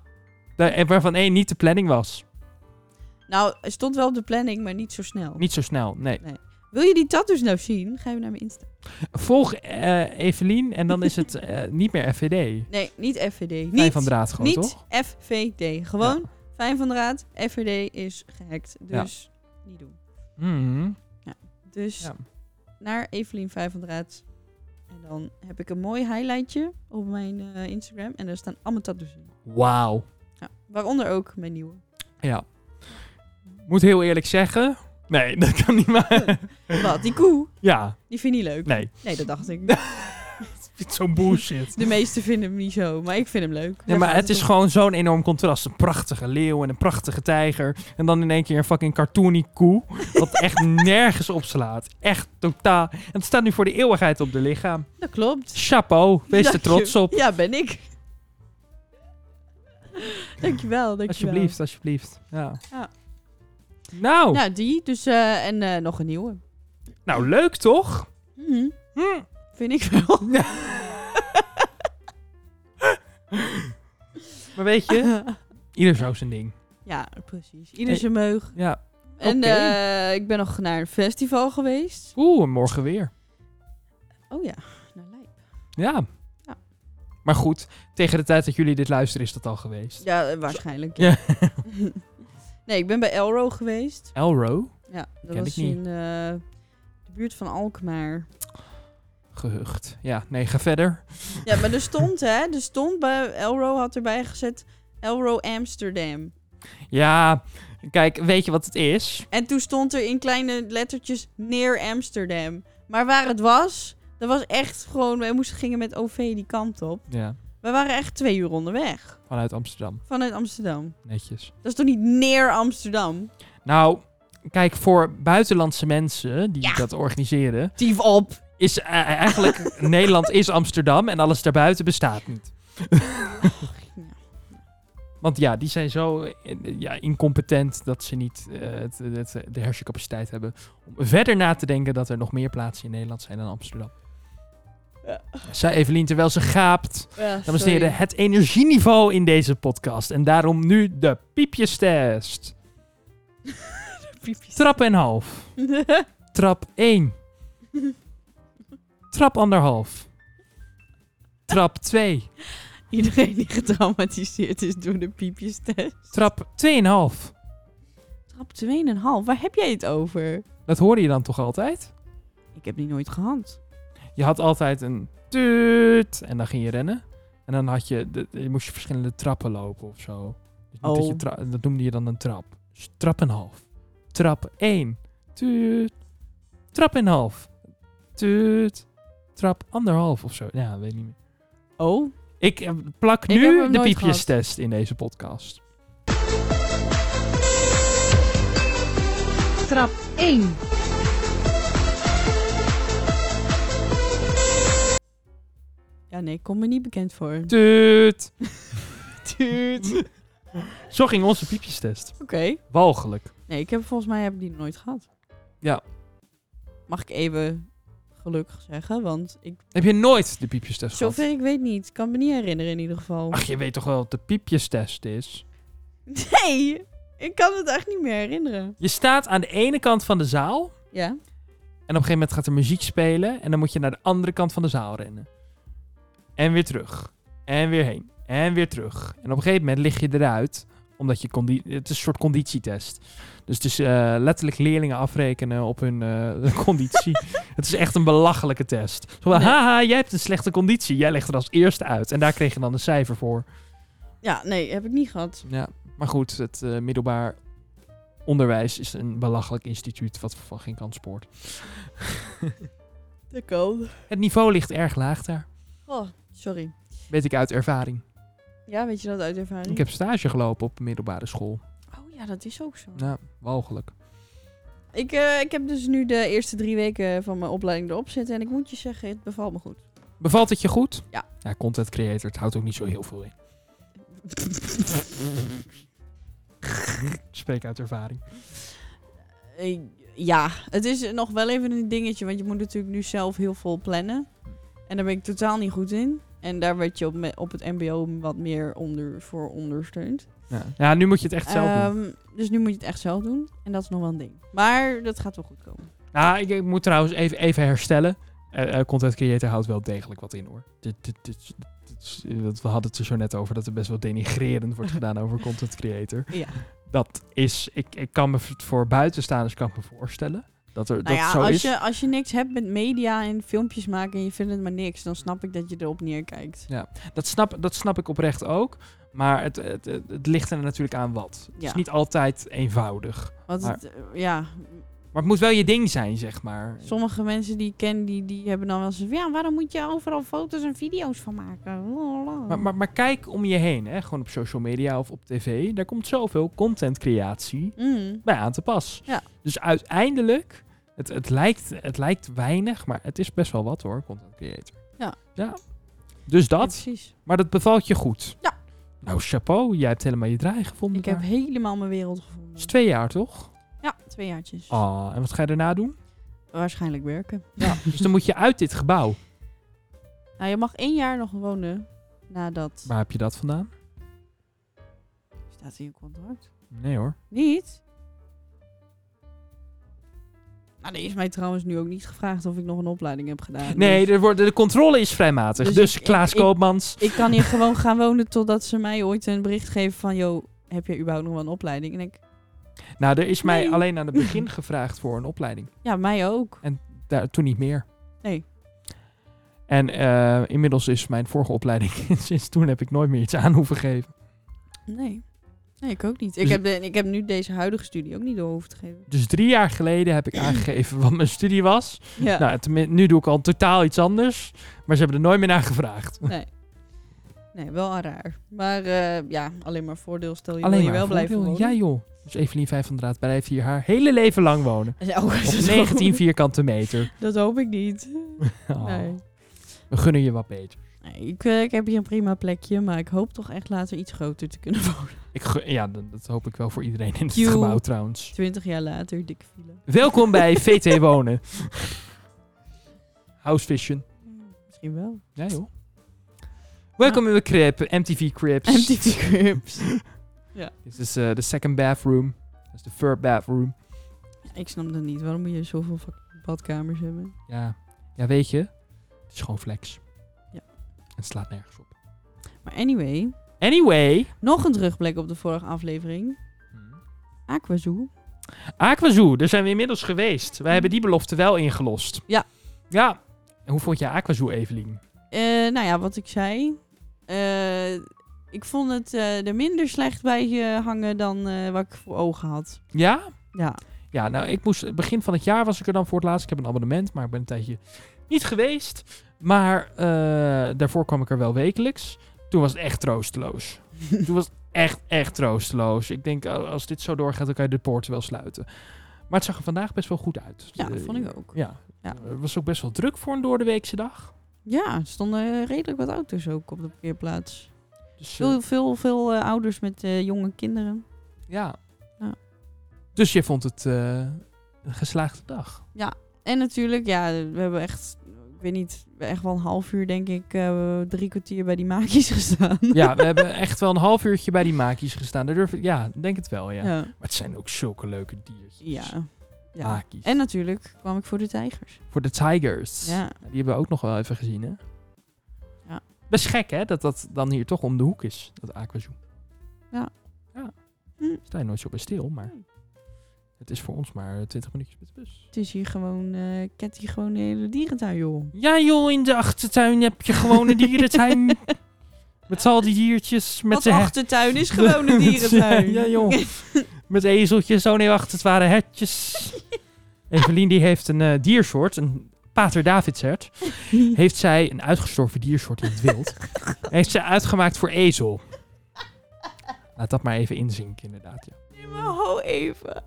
S2: daar- en waarvan één niet de planning was.
S1: Nou, het stond wel op de planning, maar niet zo snel.
S2: Niet zo snel, nee.
S1: Wil je die tattoos nou zien? Ga je naar mijn Insta.
S2: Volg eh, Evelien en dan is het eh, niet meer FVD.
S1: Nee, niet FVD.
S2: Fijn
S1: Niet,
S2: van draad gewoon,
S1: niet
S2: toch?
S1: FVD. Gewoon Fijn van Raad. FVD is gehackt.
S2: Ja.
S1: Dus niet doen.
S2: Mhm.
S1: Dus
S2: Ja.
S1: naar Evelien Fijn van Raad. En dan heb ik een mooi highlightje op mijn eh, Instagram. En daar staan allemaal tattoos in.
S2: Wauw.
S1: Ja, waaronder ook mijn nieuwe.
S2: Ja. Moet heel eerlijk zeggen. Nee, dat kan niet maar.
S1: Hm. Wat, die koe,
S2: ja,
S1: die vind je niet leuk.
S2: nee.
S1: Nee, dat dacht ik.
S2: Ik vind Zo'n bullshit.
S1: De meesten vinden hem niet zo, maar ik vind hem leuk.
S2: Nee,
S1: Daar
S2: maar
S1: gaat
S2: het is
S1: om.
S2: gewoon zo'n enorm contrast. Een prachtige leeuw en een prachtige tijger. En dan in één keer een fucking cartoony koe. Wat echt nergens opslaat. Echt totaal. En het staat nu voor de eeuwigheid op de lichaam.
S1: Dat klopt.
S2: Chapeau. Wees er
S1: Dank
S2: trots
S1: je.
S2: op.
S1: Ja, ben ik. dankjewel, dankjewel.
S2: Alsjeblieft, alsjeblieft. Ja.
S1: Ja.
S2: Nou, nou,
S1: Nou, die dus. eh, en eh, nog een nieuwe.
S2: leuk toch?
S1: Mhm,
S2: Hm.
S1: Vind ik wel.
S2: Maar weet je, ieder zo zijn ding.
S1: ja, precies. Ieder zijn meug.
S2: Ja.
S1: En
S2: Oké.
S1: eh, ik ben nog naar een festival geweest.
S2: Oeh, en morgen weer.
S1: Oh ja, naar Leip.
S2: Ja.
S1: Ja.
S2: Maar goed, tegen de tijd dat jullie dit luisteren is dat al geweest.
S1: Ja, eh, waarschijnlijk.
S2: Ja.
S1: nee, ik ben bij Elro geweest.
S2: Elro,
S1: Ja, dat
S2: Ken
S1: was
S2: ik niet.
S1: in eh, de buurt van Alkmaar.
S2: gehucht. Ja, nee, ga verder.
S1: Ja, maar er stond, hè. Er stond bij Elro, had erbij gezet... Elro Amsterdam.
S2: Ja, Kijk, weet je wat het is?
S1: En toen stond er in kleine lettertjes neer Amsterdam. Maar waar het was, dat was echt gewoon... Wij moesten, gingen met OV die kant op.
S2: Ja,
S1: We waren echt twee uur onderweg
S2: vanuit Amsterdam.
S1: vanuit Amsterdam.
S2: Netjes.
S1: Dat is toch niet neer Amsterdam?
S2: Nou, kijk, voor buitenlandse mensen die
S1: Ja.
S2: dat organiseren,
S1: Tief op!
S2: is eh, eigenlijk Nederland is Amsterdam en alles daarbuiten bestaat niet. Want ja, die zijn zo eh, ja, incompetent dat ze niet eh, het, het- de hersencapaciteit hebben om verder na te denken dat er nog meer plaatsen in Nederland zijn dan Amsterdam.
S1: Ja.
S2: Zei Evelien terwijl ze gaapt.
S1: Ja,
S2: Dames en heren, het energieniveau in deze podcast. En daarom nu de piepjestest. Trap en half. Trap 1. Trap anderhalf. Trap 2.
S1: Iedereen die getraumatiseerd is door de piepjes test.
S2: Trap 2,5.
S1: Trap 2,5. Waar heb jij het over?
S2: Dat hoorde je dan toch altijd?
S1: Ik heb die nooit gehad.
S2: Je had altijd een tuut en dan ging je rennen. En dan had je, de- je moest je verschillende trappen lopen of zo. Dus niet dat, je
S1: Oh.
S2: tra- dat noemde je dan een trap. Dus trap en half. Trap 1. Tuut. Trap en half. Tuut. Trap anderhalf of zo. Ja, weet niet meer.
S1: Oh.
S2: Ik eh, plak
S1: Ik heb
S2: nu
S1: hem
S2: de
S1: nooit
S2: piepjestest in deze podcast.
S3: Trap 1.
S1: Ja, nee, kom me niet bekend voor.
S2: Tuut.
S1: Tuut. Oké.
S2: Zo ging onze piepjestest. Walgelijk.
S1: Nee, ik heb volgens mij heb ik die nooit gehad.
S2: Ja.
S1: Mag ik even gelukkig zeggen, want ik,
S2: Heb je nooit de piepjestest gehad?
S1: zover ik weet niet. Ik kan me niet herinneren in ieder geval.
S2: Ach, je weet toch wel wat de piepjestest is?
S1: Nee, ik kan het echt niet meer herinneren.
S2: Je staat aan de ene kant van de zaal.
S1: Ja.
S2: En op een gegeven moment gaat er muziek spelen. En dan moet je naar de andere kant van de zaal rennen. En weer terug. En weer heen. En weer terug. En op een gegeven moment lig je eruit. Omdat je condi- Het is een soort conditietest. Dus het is eh, letterlijk leerlingen afrekenen op hun eh, conditie. het is echt een belachelijke test. Zo van,
S1: Nee.
S2: haha, jij hebt een slechte conditie. Jij ligt er als eerste uit. En daar kreeg je dan een cijfer voor.
S1: Ja, nee, heb ik niet gehad.
S2: Ja, maar goed, het eh, middelbaar onderwijs is een belachelijk instituut wat van geen kant spoort.
S1: Dat kan.
S2: Het niveau ligt erg laag daar.
S1: Oh, sorry.
S2: Weet ik uit ervaring.
S1: Ja, weet je dat uit ervaring?
S2: Ik heb stage gelopen op middelbare school.
S1: Oh ja, dat is ook zo.
S2: Nou, walgelijk.
S1: Ik, eh, ik heb dus nu de eerste drie weken van mijn opleiding erop zitten. En ik moet je zeggen, het bevalt me goed.
S2: Bevalt het je goed?
S1: Ja.
S2: Ja, content creator, het houdt ook niet zo heel veel in. Spreek uit ervaring.
S1: Eh, ja, het is nog wel even een dingetje. Want je moet natuurlijk nu zelf heel veel plannen. En daar ben ik totaal niet goed in. En daar werd je op, me- op het mbo wat meer onder, voor ondersteund.
S2: Ja. ja, nu moet je het echt zelf doen.
S1: Ehm, Dus nu moet je het echt zelf doen. En dat is nog wel een ding. Maar dat gaat wel goed komen.
S2: Nou, ik, ik moet trouwens even, even herstellen. Eh, eh, content creator houdt wel degelijk wat in hoor. Dit, dit, dit, dit is- eh, want we hadden het er zo net over dat er best wel denigrerend wordt gedaan over content creator.
S1: Ja.
S2: Dat is, ik, ik kan me v- voor buitenstaanders kan ik me voorstellen dat er dat
S1: nou ja,
S2: zo
S1: als
S2: is.
S1: je, als je niks hebt met media en filmpjes maken en je vindt het maar niks, dan snap ik dat je erop neerkijkt.
S2: Dat snap, dat snap ik oprecht ook. Maar het, het, het, het ligt er natuurlijk aan wat. Het is
S1: Ja.
S2: niet altijd eenvoudig.
S1: Want het, eh, ja,
S2: Maar het moet wel je ding zijn, zeg maar.
S1: sommige mensen die ik ken, die, die hebben dan wel zoiets van... Ja, waarom moet je overal foto's en video's van maken? Lalala.
S2: Maar, maar, maar kijk om je heen, hè. gewoon op social media of op tv. Daar komt zoveel contentcreatie
S1: Mm.
S2: bij aan te pas.
S1: Ja.
S2: Dus uiteindelijk, het, het, lijkt, het lijkt weinig, maar het is best wel wat hoor, content creator.
S1: Ja.
S2: ja. Dus
S1: Ja,
S2: dat,
S1: precies.
S2: maar dat bevalt je goed.
S1: Ja.
S2: Nou, chapeau, jij hebt helemaal je draai gevonden.
S1: Ik heb
S2: daar.
S1: helemaal mijn wereld
S2: Dat
S1: gevonden.
S2: is twee jaar toch?
S1: Ja, twee jaartjes.
S2: Ah, en wat ga je daarna doen?
S1: Waarschijnlijk werken.
S2: Dus dan moet je uit dit gebouw.
S1: Nou, je mag één jaar nog wonen nadat...
S2: Waar heb je dat vandaan?
S1: Staat in je contract?
S2: Nee hoor.
S1: Niet? Nou, er is mij trouwens nu ook niet gevraagd of ik nog een opleiding heb gedaan.
S2: Nee, er wordt, de controle is vrijmatig. Dus,
S1: Dus ik- ik-
S2: Klaas
S1: ik-
S2: Koopmans.
S1: Ik kan hier gewoon gaan wonen totdat ze mij ooit een bericht geven van... Yo, heb jij überhaupt nog wel een opleiding? En ik...
S2: Nou, er is mij
S1: Nee.
S2: alleen aan het begin gevraagd voor een opleiding.
S1: Ja, mij ook.
S2: Daar, toen niet meer.
S1: Nee.
S2: En eh, inmiddels is mijn vorige opleiding. Sinds toen heb ik nooit meer iets aan hoeven geven.
S1: Nee. Nee, ik ook niet. Ik
S2: Dus-
S1: heb, de, ik heb nu deze huidige studie ook niet door hoeven te geven.
S2: Dus drie jaar geleden heb ik aangegeven wat mijn studie was.
S1: Ja.
S2: Nou, tenmin- nu doe ik al totaal iets anders. Maar ze hebben er nooit meer naar gevraagd.
S1: Nee. Nee, wel een raar. Maar eh, ja, alleen maar voordeel. Stel je
S2: Alleen
S1: wil je
S2: maar
S1: wel
S2: een
S1: blijven
S2: voordeel.
S1: wonen.
S2: Ja joh. Dus Evelien Vijf van Draat blijft hier haar hele leven lang wonen.
S1: Ja, oh,
S2: Op 19 vierkante meter.
S1: Dat hoop ik niet.
S2: Oh,
S1: Nee.
S2: We gunnen je wat beter.
S1: Nee, ik, eh, ik heb hier een prima plekje, maar ik hoop toch echt later iets groter te kunnen wonen.
S2: Ik gun- ja, dat dat hoop ik wel voor iedereen in het
S1: Cute.
S2: gebouw trouwens.
S1: Twintig jaar later, dikke file.
S2: Welkom bij VT Wonen. House Vision.
S1: Misschien wel.
S2: Ja joh. Welkom in de crib, MTV Cribs.
S1: MTV Crips.
S2: Dit is eh, de second bathroom. Dat is de third bathroom.
S1: ik snap dat niet. Waarom moet je zoveel fucking badkamers hebben?
S2: Ja. ja, weet je. Het is gewoon flex.
S1: Ja.
S2: En het slaat nergens op.
S1: Maar anyway,
S2: Anyway.
S1: nog een terugblik op de vorige aflevering.
S2: Hmm.
S1: Aquazoo.
S2: Aquazoo, daar zijn we inmiddels geweest. Wij hebben die belofte wel ingelost.
S1: Hmm. Ja.
S2: Ja. En hoe vond je Aquazoo, Evelien?
S1: Eh, nou ja, wat ik zei. Eh, ik vond het eh, er minder slecht bij eh, hangen dan eh, wat ik voor ogen had.
S2: Ja?
S1: Ja.
S2: Ja, nou, ik moest... Begin van het jaar was ik er dan voor het laatst. Ik heb een abonnement, maar ik ben een tijdje niet geweest. Maar eh, daarvoor kwam ik er wel wekelijks. Toen was het echt troosteloos. Toen was het echt, echt troosteloos. Ik denk, oh, als dit zo doorgaat, dan kan je de poorten wel sluiten. Maar het zag er vandaag best wel goed uit.
S1: Ja,
S2: Eh,
S1: vond ik ook.
S2: Ja.
S1: Ja.
S2: Het was ook best wel druk voor een doordeweekse dag.
S1: Ja, er stonden eh, redelijk wat auto's ook op de parkeerplaats.
S2: Dus, eh,
S1: Veel, veel, veel eh, ouders met eh, jonge kinderen.
S2: Ja.
S1: Ja.
S2: Dus je vond het eh, een geslaagde dag.
S1: En natuurlijk, ja, we hebben echt, ik weet niet, echt wel een half uur denk ik, eh, drie kwartier bij die maakjes gestaan.
S2: Ja, we hebben echt wel een half uurtje bij die maakjes gestaan. Daar durf ik, ja, ik denk het wel, ja.
S1: ja.
S2: Maar het zijn ook zulke leuke diertjes.
S1: ja. Ja.
S2: Haakjes.
S1: En natuurlijk kwam ik voor de tijgers.
S2: Voor de tigers.
S1: Ja.
S2: Die hebben we ook nog wel even gezien, hè?
S1: Ja.
S2: Best gek, hè? Dat dat dan hier toch om de hoek is, dat aquazoo.
S1: Ja.
S2: Ja.
S1: Hm.
S2: Sta je nooit zo bij stil, maar
S1: Nee.
S2: het is voor ons maar eh, 20 minuutjes met de bus.
S1: Het is hier gewoon, eh kent hier gewoon de hele dierentuin, joh.
S2: Ja joh, in de achtertuin heb je gewoon een dierentuin. met al die diertjes, met
S1: Wat
S2: zijn
S1: achtertuin is gewoon een dierentuin.
S2: ja, joh. Met ezeltjes. Oh nee, wacht, het waren hertjes. Evelien die heeft een eh, diersoort, een pater davidshert. Heeft zij een uitgestorven diersoort in het wild. heeft zij uitgemaakt voor ezel. Laat dat maar even inzinken, inderdaad. Ja.
S1: Nee, maar hou even.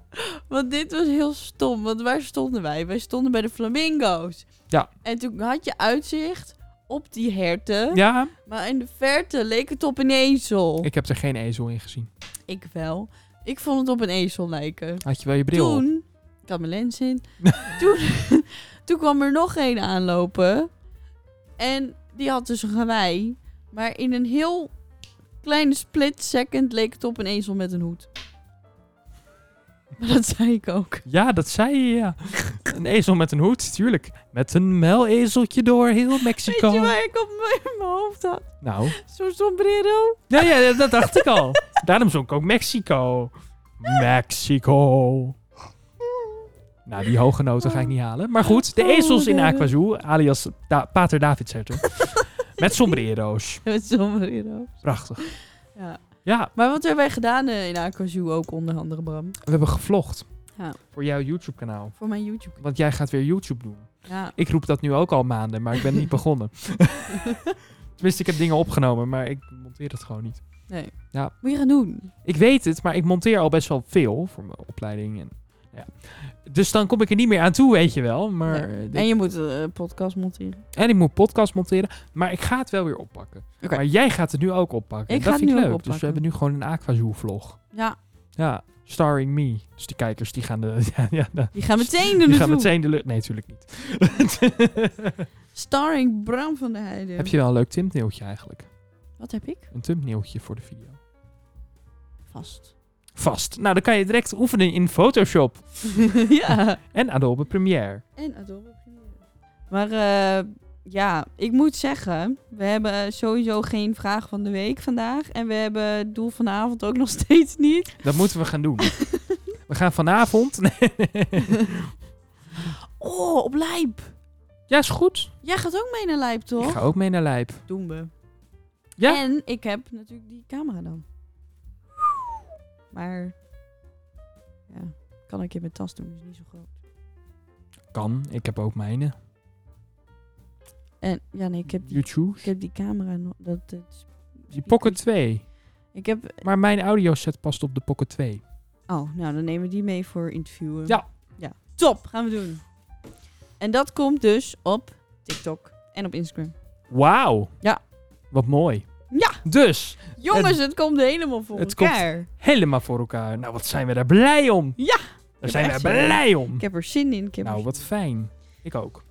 S1: Want dit was heel stom. Want waar stonden wij? Wij stonden bij de flamingo's.
S2: Ja.
S1: En toen had je uitzicht op die herten.
S2: ja,
S1: Maar in de verte leek het op een ezel. Ik,
S2: ik heb er geen ezel in gezien.
S1: wel. Ik vond het op een ezel lijken.
S2: Had je wel je bril op?
S1: Toen... Ik had mijn lens in. toen, toen kwam er nog een aanlopen. En die had dus een gewei. Maar in een heel kleine split second leek het op een ezel met een hoed. Maar dat zei ik ook.
S2: Ja, dat zei je, ja. Een ezel met een hoed, tuurlijk. Met een melezeltje door heel Mexico.
S1: Weet je waar ik op mijn- in mijn hoofd had?
S2: Nou,
S1: Zo'n sombrero.
S2: Ja, ja, dat dacht ik al. Daarom zong ik ook Mexico. Mexico. Nou, die hoge noten ga ik niet halen. Maar goed, de ezels in Aquazoo, alias da Pater David Met sombrero's.
S1: Een sombrero.
S2: Prachtig.
S1: Ja.
S2: Ja,
S1: Maar wat hebben wij gedaan eh, in Aquazoo ook onder andere, Bram?
S2: we hebben gevlogd.
S1: Ja.
S2: Voor jouw YouTube-kanaal.
S1: Voor mijn YouTube.
S2: Want jij gaat weer YouTube doen.
S1: Ja.
S2: Ik roep dat nu ook al maanden, maar ik ben niet begonnen. Tenminste, ik heb dingen opgenomen, maar ik monteer het gewoon niet.
S1: Nee.
S2: Ja.
S1: Moet je gaan doen.
S2: Ik weet het, maar ik monteer al best wel veel voor mijn opleiding. En, ja. Dus dan kom ik er niet meer aan toe, weet je wel. Maar, eh, dit-
S1: En je moet een podcast monteren.
S2: en ik moet podcast monteren. Maar ik ga het wel weer oppakken.
S1: Oké.
S2: Maar jij gaat het nu ook oppakken.
S1: Ik
S2: dat
S1: ga het
S2: vind ik
S1: nu ook
S2: leuk. Dus we
S1: oppakken.
S2: hebben nu gewoon een Aquazoo-vlog.
S1: Ja.
S2: Ja, starring me. Dus die kijkers die gaan de... Ja, ja, de-
S1: Die gaan meteen
S2: die
S1: doen.
S2: gaan meteen de lucht... Nee, natuurlijk niet.
S1: Starring Bram van der Heijden.
S2: Heb je wel een leuk thumbnailtje eigenlijk?
S1: Wat heb ik?
S2: Een thumbnailtje voor de video.
S1: Vast.
S2: Vast. Nou, dan kan je direct oefenen in Photoshop.
S1: ja.
S2: En Adobe Premiere.
S1: En Adobe Premiere. Maar eh, ja, ik moet zeggen, we hebben sowieso geen vraag van de week vandaag. En we hebben het doel vanavond ook nog steeds niet.
S2: Dat moeten we gaan doen. We gaan vanavond.
S1: Oh, op Lijp.
S2: ja, is goed.
S1: Jij gaat ook mee naar Lijp, toch?
S2: Ik ga ook mee naar Lijp.
S1: Doen we.
S2: Ja.
S1: En ik heb natuurlijk die camera dan. Maar ja, kan ik in mijn tas doen, is niet zo groot.
S2: Kan, ik heb ook mijne.
S1: En ja, nee, ik heb die,
S2: You
S1: ik
S2: choose.
S1: heb die camera nog. Dat, dat,
S2: Die Pocket 2.
S1: Ik heb.
S2: Maar mijn audioset past op de Pocket 2.
S1: Oh, nou dan nemen we die mee voor interviewen.
S2: Ja.
S1: Ja. Top, gaan we doen. En dat komt dus op TikTok en op Instagram.
S2: Wauw.
S1: Ja.
S2: Wat mooi.
S1: Ja.
S2: Dus,
S1: Jongens, het, komt helemaal voor
S2: het komt-
S1: elkaar.
S2: helemaal voor elkaar. Nou, wat zijn we daar blij om.
S1: Ja.
S2: Daar zijn we
S1: echt zin in.
S2: blij om.
S1: Ik heb er zin in. Ik heb er
S2: Nou,
S1: zin
S2: wat
S1: in.
S2: fijn. Ik ook.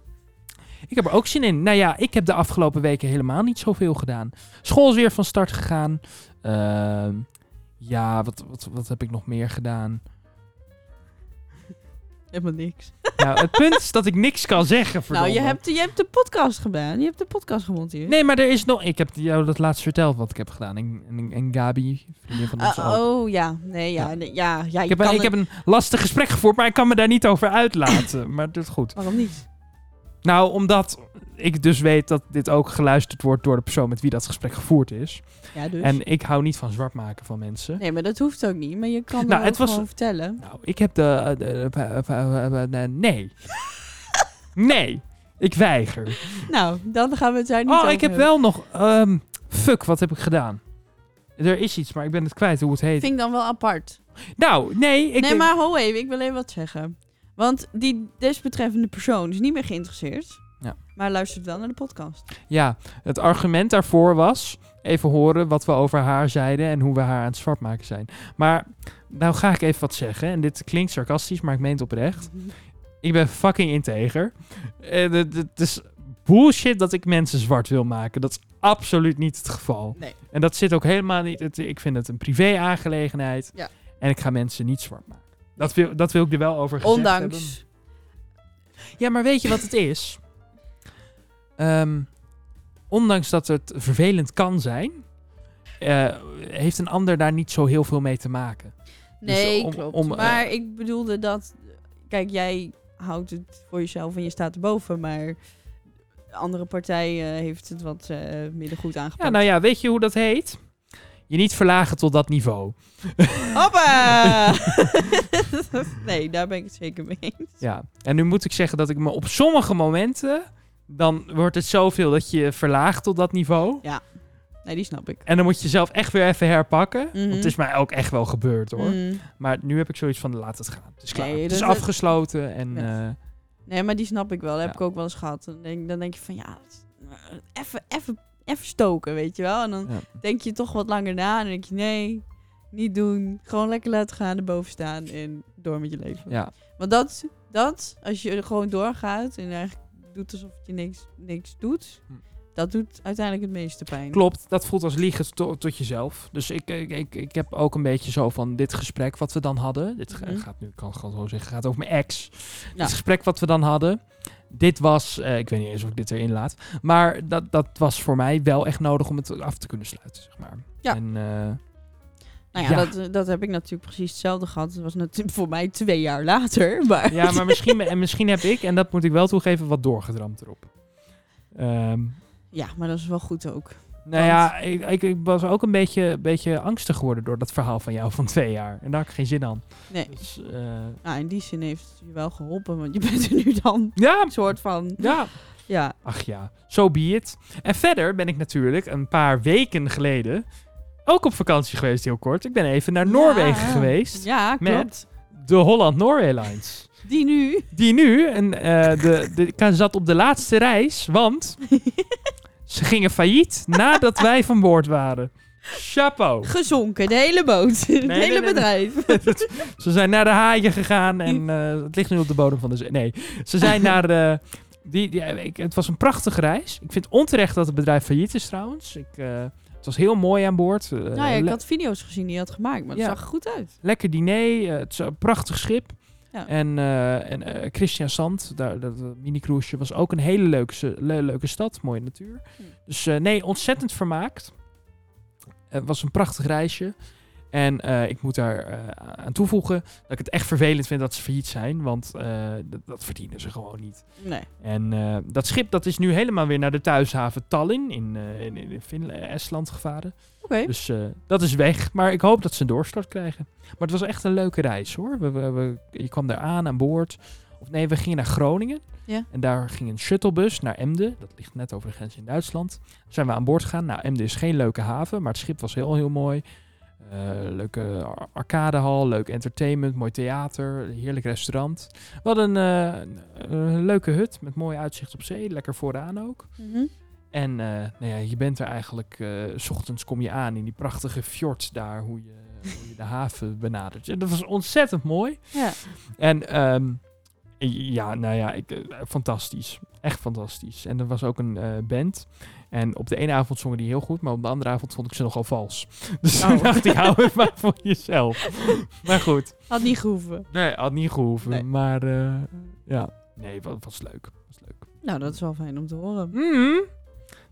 S2: Ik heb er ook zin in. Nou ja, ik heb de afgelopen weken helemaal niet zoveel gedaan. School is weer van start gegaan. Ehm, ja, wat, wat, wat heb ik nog meer gedaan?
S1: Helemaal niks.
S2: Nou, het punt is dat ik niks kan zeggen.
S1: Nou, je
S2: verdomme.
S1: hebt, je hebt de podcast gedaan. Je hebt de podcast gemonteerd.
S2: Nee, maar er is nog... Ik heb jou dat laatst verteld wat ik heb gedaan. En, en, en Gabi, vriendin van ons
S1: Ah,
S2: ook.
S1: oh ja, nee, ja,
S2: Ja.
S1: nee, ja, ja.
S2: Ik
S1: je
S2: heb, een,
S1: kan
S2: ik heb
S1: het-
S2: een lastig gesprek gevoerd, maar ik kan me daar niet over uitlaten. maar dat is goed.
S1: Waarom niet?
S2: Nou, omdat ik dus weet dat dit ook geluisterd wordt door de persoon met wie dat gesprek gevoerd is.
S1: Ja, dus.
S2: En ik hou niet van zwart maken van mensen.
S1: Nee, maar dat hoeft ook niet. Maar je kan
S2: Nou,
S1: het
S2: het was-
S1: gewoon vertellen.
S2: Nou, ik heb de. de- eh, de- de- de- Nee. Nee. Ik weiger.
S1: Nou, dan gaan we het daar niet
S2: Oh,
S1: over
S2: ik heb
S1: hebben.
S2: wel nog. ehm, fuck, wat heb ik gedaan? Er is iets, maar ik ben het kwijt hoe het heet.
S1: Vind ik dan wel apart.
S2: Nou, nee. Ik
S1: nee, maar ho even, ik wil even wat zeggen. Want die desbetreffende persoon is niet meer geïnteresseerd.
S2: Ja.
S1: Maar luistert wel naar de podcast.
S2: Ja, het argument daarvoor was. Even horen wat we over haar zeiden en hoe we haar aan het zwart maken zijn. Maar nou ga ik even wat zeggen. En dit klinkt sarcastisch, maar ik meen het oprecht. Ik ben fucking integer. Eh, Het het is bullshit dat ik mensen zwart wil maken. Dat is absoluut niet het geval.
S1: Nee.
S2: En dat zit ook helemaal niet. het- ik vind het een privé aangelegenheid.
S1: Ja.
S2: En ik ga mensen niet zwart maken. Dat wil, dat wil ik er wel over gezegd hebben.
S1: Ondanks.
S2: Ja, maar weet je wat het is? Ehm, ondanks dat het vervelend kan zijn, eh, heeft een ander daar niet zo heel veel mee te maken.
S1: Nee,
S2: om-
S1: klopt.
S2: om, eh,
S1: maar ik bedoelde dat... Kijk, jij houdt het voor jezelf en je staat erboven, maar... De andere partij eh, heeft het wat eh minder goed
S2: Ja,
S1: aangepakt.
S2: nou ja, weet je hoe dat heet? Je niet verlagen tot dat niveau. nou-
S1: Hoppa! nee, daar ben ik het zeker mee eens.
S2: Ja. En nu moet ik zeggen dat ik me op sommige momenten, dan wordt het zoveel dat je je verlaagt tot dat niveau.
S1: Nee, die snap ik.
S2: En dan moet je zelf echt weer even herpakken. Want het
S1: Mhm.
S2: is mij ook echt wel gebeurd hoor.
S1: Mm.
S2: Maar nu heb ik zoiets van laat het gaan. Het is klaar.
S1: Nee,
S2: het
S1: dat-
S2: is
S1: dat-
S2: afgesloten en
S1: Ja.
S2: eh,
S1: Nee, maar die snap ik wel. Dat heb
S2: Ja.
S1: ik ook wel eens gehad. Dan denk, dan denk je van, ja, het- even, even, even stoken, weet je wel. En dan
S2: Ja.
S1: denk je toch wat langer na. En dan denk je, nee, niet doen. Gewoon lekker laten gaan, erboven staan en door met je leven.
S2: ja.
S1: Want dat, dat, als je er gewoon doorgaat en eigenlijk doet alsof je niks, niks doet...
S2: Hm.
S1: Dat doet uiteindelijk het meeste pijn.
S2: Klopt, dat voelt als liegen to- tot jezelf. Dus ik, ik, ik, ik heb ook een beetje zo van dit gesprek wat we dan hadden. Dit ge-
S1: Mhm.
S2: gaat nu, ik kan het gewoon zo zeggen, gaat over mijn ex.
S1: Ja.
S2: Dit gesprek wat we dan hadden. Dit was, eh, ik weet niet eens of ik dit erin laat. Maar dat, dat was voor mij wel echt nodig om het af te kunnen sluiten, zeg maar.
S1: Ja.
S2: En, eh,
S1: Nou
S2: Ja.
S1: ja, Dat, dat heb ik natuurlijk precies hetzelfde gehad. Dat was natuurlijk voor mij twee jaar later. Maar
S2: ja, maar misschien, en misschien heb ik, en dat moet ik wel toegeven, wat doorgedramd erop. Ehm,
S1: ja, maar dat is wel goed ook.
S2: nou ja, ik, ik, ik was ook een beetje, beetje angstig geworden door dat verhaal van jou van twee jaar. En daar had ik geen zin aan.
S1: Nee.
S2: Dus, eh,
S1: Nou, in die zin heeft het je wel geholpen, want je bent er nu dan
S2: ja,
S1: een soort van...
S2: Ja.
S1: Ja,
S2: Ach ja, so be it. En verder ben ik natuurlijk een paar weken geleden ook op vakantie geweest, heel kort. Ik ben even naar Noorwegen
S1: Ja.
S2: geweest.
S1: ja klopt.
S2: Met de Holland Norway Lines.
S1: Die nu.
S2: Die nu, en eh, de, de, ik zat op de laatste reis, want ze gingen failliet nadat wij van boord waren. Chapeau.
S1: Gezonken, de hele boot. Het
S2: nee,
S1: hele
S2: nee, nee.
S1: bedrijf.
S2: Ze zijn naar de haaien gegaan en eh, het ligt nu op de bodem van de zee. Nee, ze zijn naar... eh, die, die, ik, het was een prachtige reis. Ik vind onterecht dat het bedrijf failliet is trouwens. Ik, eh, het was heel mooi aan boord. Eh,
S1: nou ja, ik
S2: le-
S1: had video's gezien die je had gemaakt, maar dat
S2: Ja.
S1: zag er goed uit.
S2: Lekker diner, eh, het is een prachtig schip.
S1: Ja.
S2: En, eh, en eh, Christian Sand, daar, dat eh, minicruiseje, was ook een hele leuke, se- le- leuke stad. Mooie natuur.
S1: Hm.
S2: Dus eh, nee, ontzettend vermaakt. Het was een prachtig reisje. En eh, ik moet daar eh, aan toevoegen dat ik het echt vervelend vind dat ze failliet zijn, want eh, dat, dat verdienen ze gewoon niet.
S1: Nee.
S2: En eh, dat schip dat is nu helemaal weer naar de thuishaven Tallinn in, eh, in, in Finla- Estland gevaren.
S1: Oké.
S2: Dus eh, dat is weg, maar ik hoop dat ze een doorstart krijgen. Maar het was echt een leuke reis hoor. We, we- we- je kwam daar aan, aan boord. Of nee, we gingen naar Groningen.
S1: Ja.
S2: En daar ging een shuttlebus naar Emden. Dat ligt net over de grens in Duitsland. Daar zijn we aan boord gegaan. Nou, Emden is geen leuke haven, maar het schip was heel, heel mooi. Eh, leuke ar- arcadehal, leuk entertainment, mooi theater, heerlijk restaurant. We hadden een eh, een leuke hut met mooi uitzicht op zee, lekker vooraan ook.
S1: Mhm.
S2: En eh, nou ja, je bent er eigenlijk, eh, s ochtends kom je aan in die prachtige fjord daar, hoe je, hoe je de haven benadert. En dat was ontzettend mooi.
S1: Ja.
S2: En ehm, ja, nou ja, ik, eh, fantastisch. Echt fantastisch. En er was ook een eh, band. En op de ene avond zongen die heel goed, maar op de andere avond vond ik ze nogal vals. Dus
S1: Oh.
S2: toen dacht ik, hou het maar voor jezelf. Maar goed.
S1: Had niet gehoeven.
S2: Nee, had niet gehoeven.
S1: Nee.
S2: Maar eh, ja, nee, was, was leuk. Was leuk.
S1: Nou, dat is wel fijn om te horen.
S2: Mhm.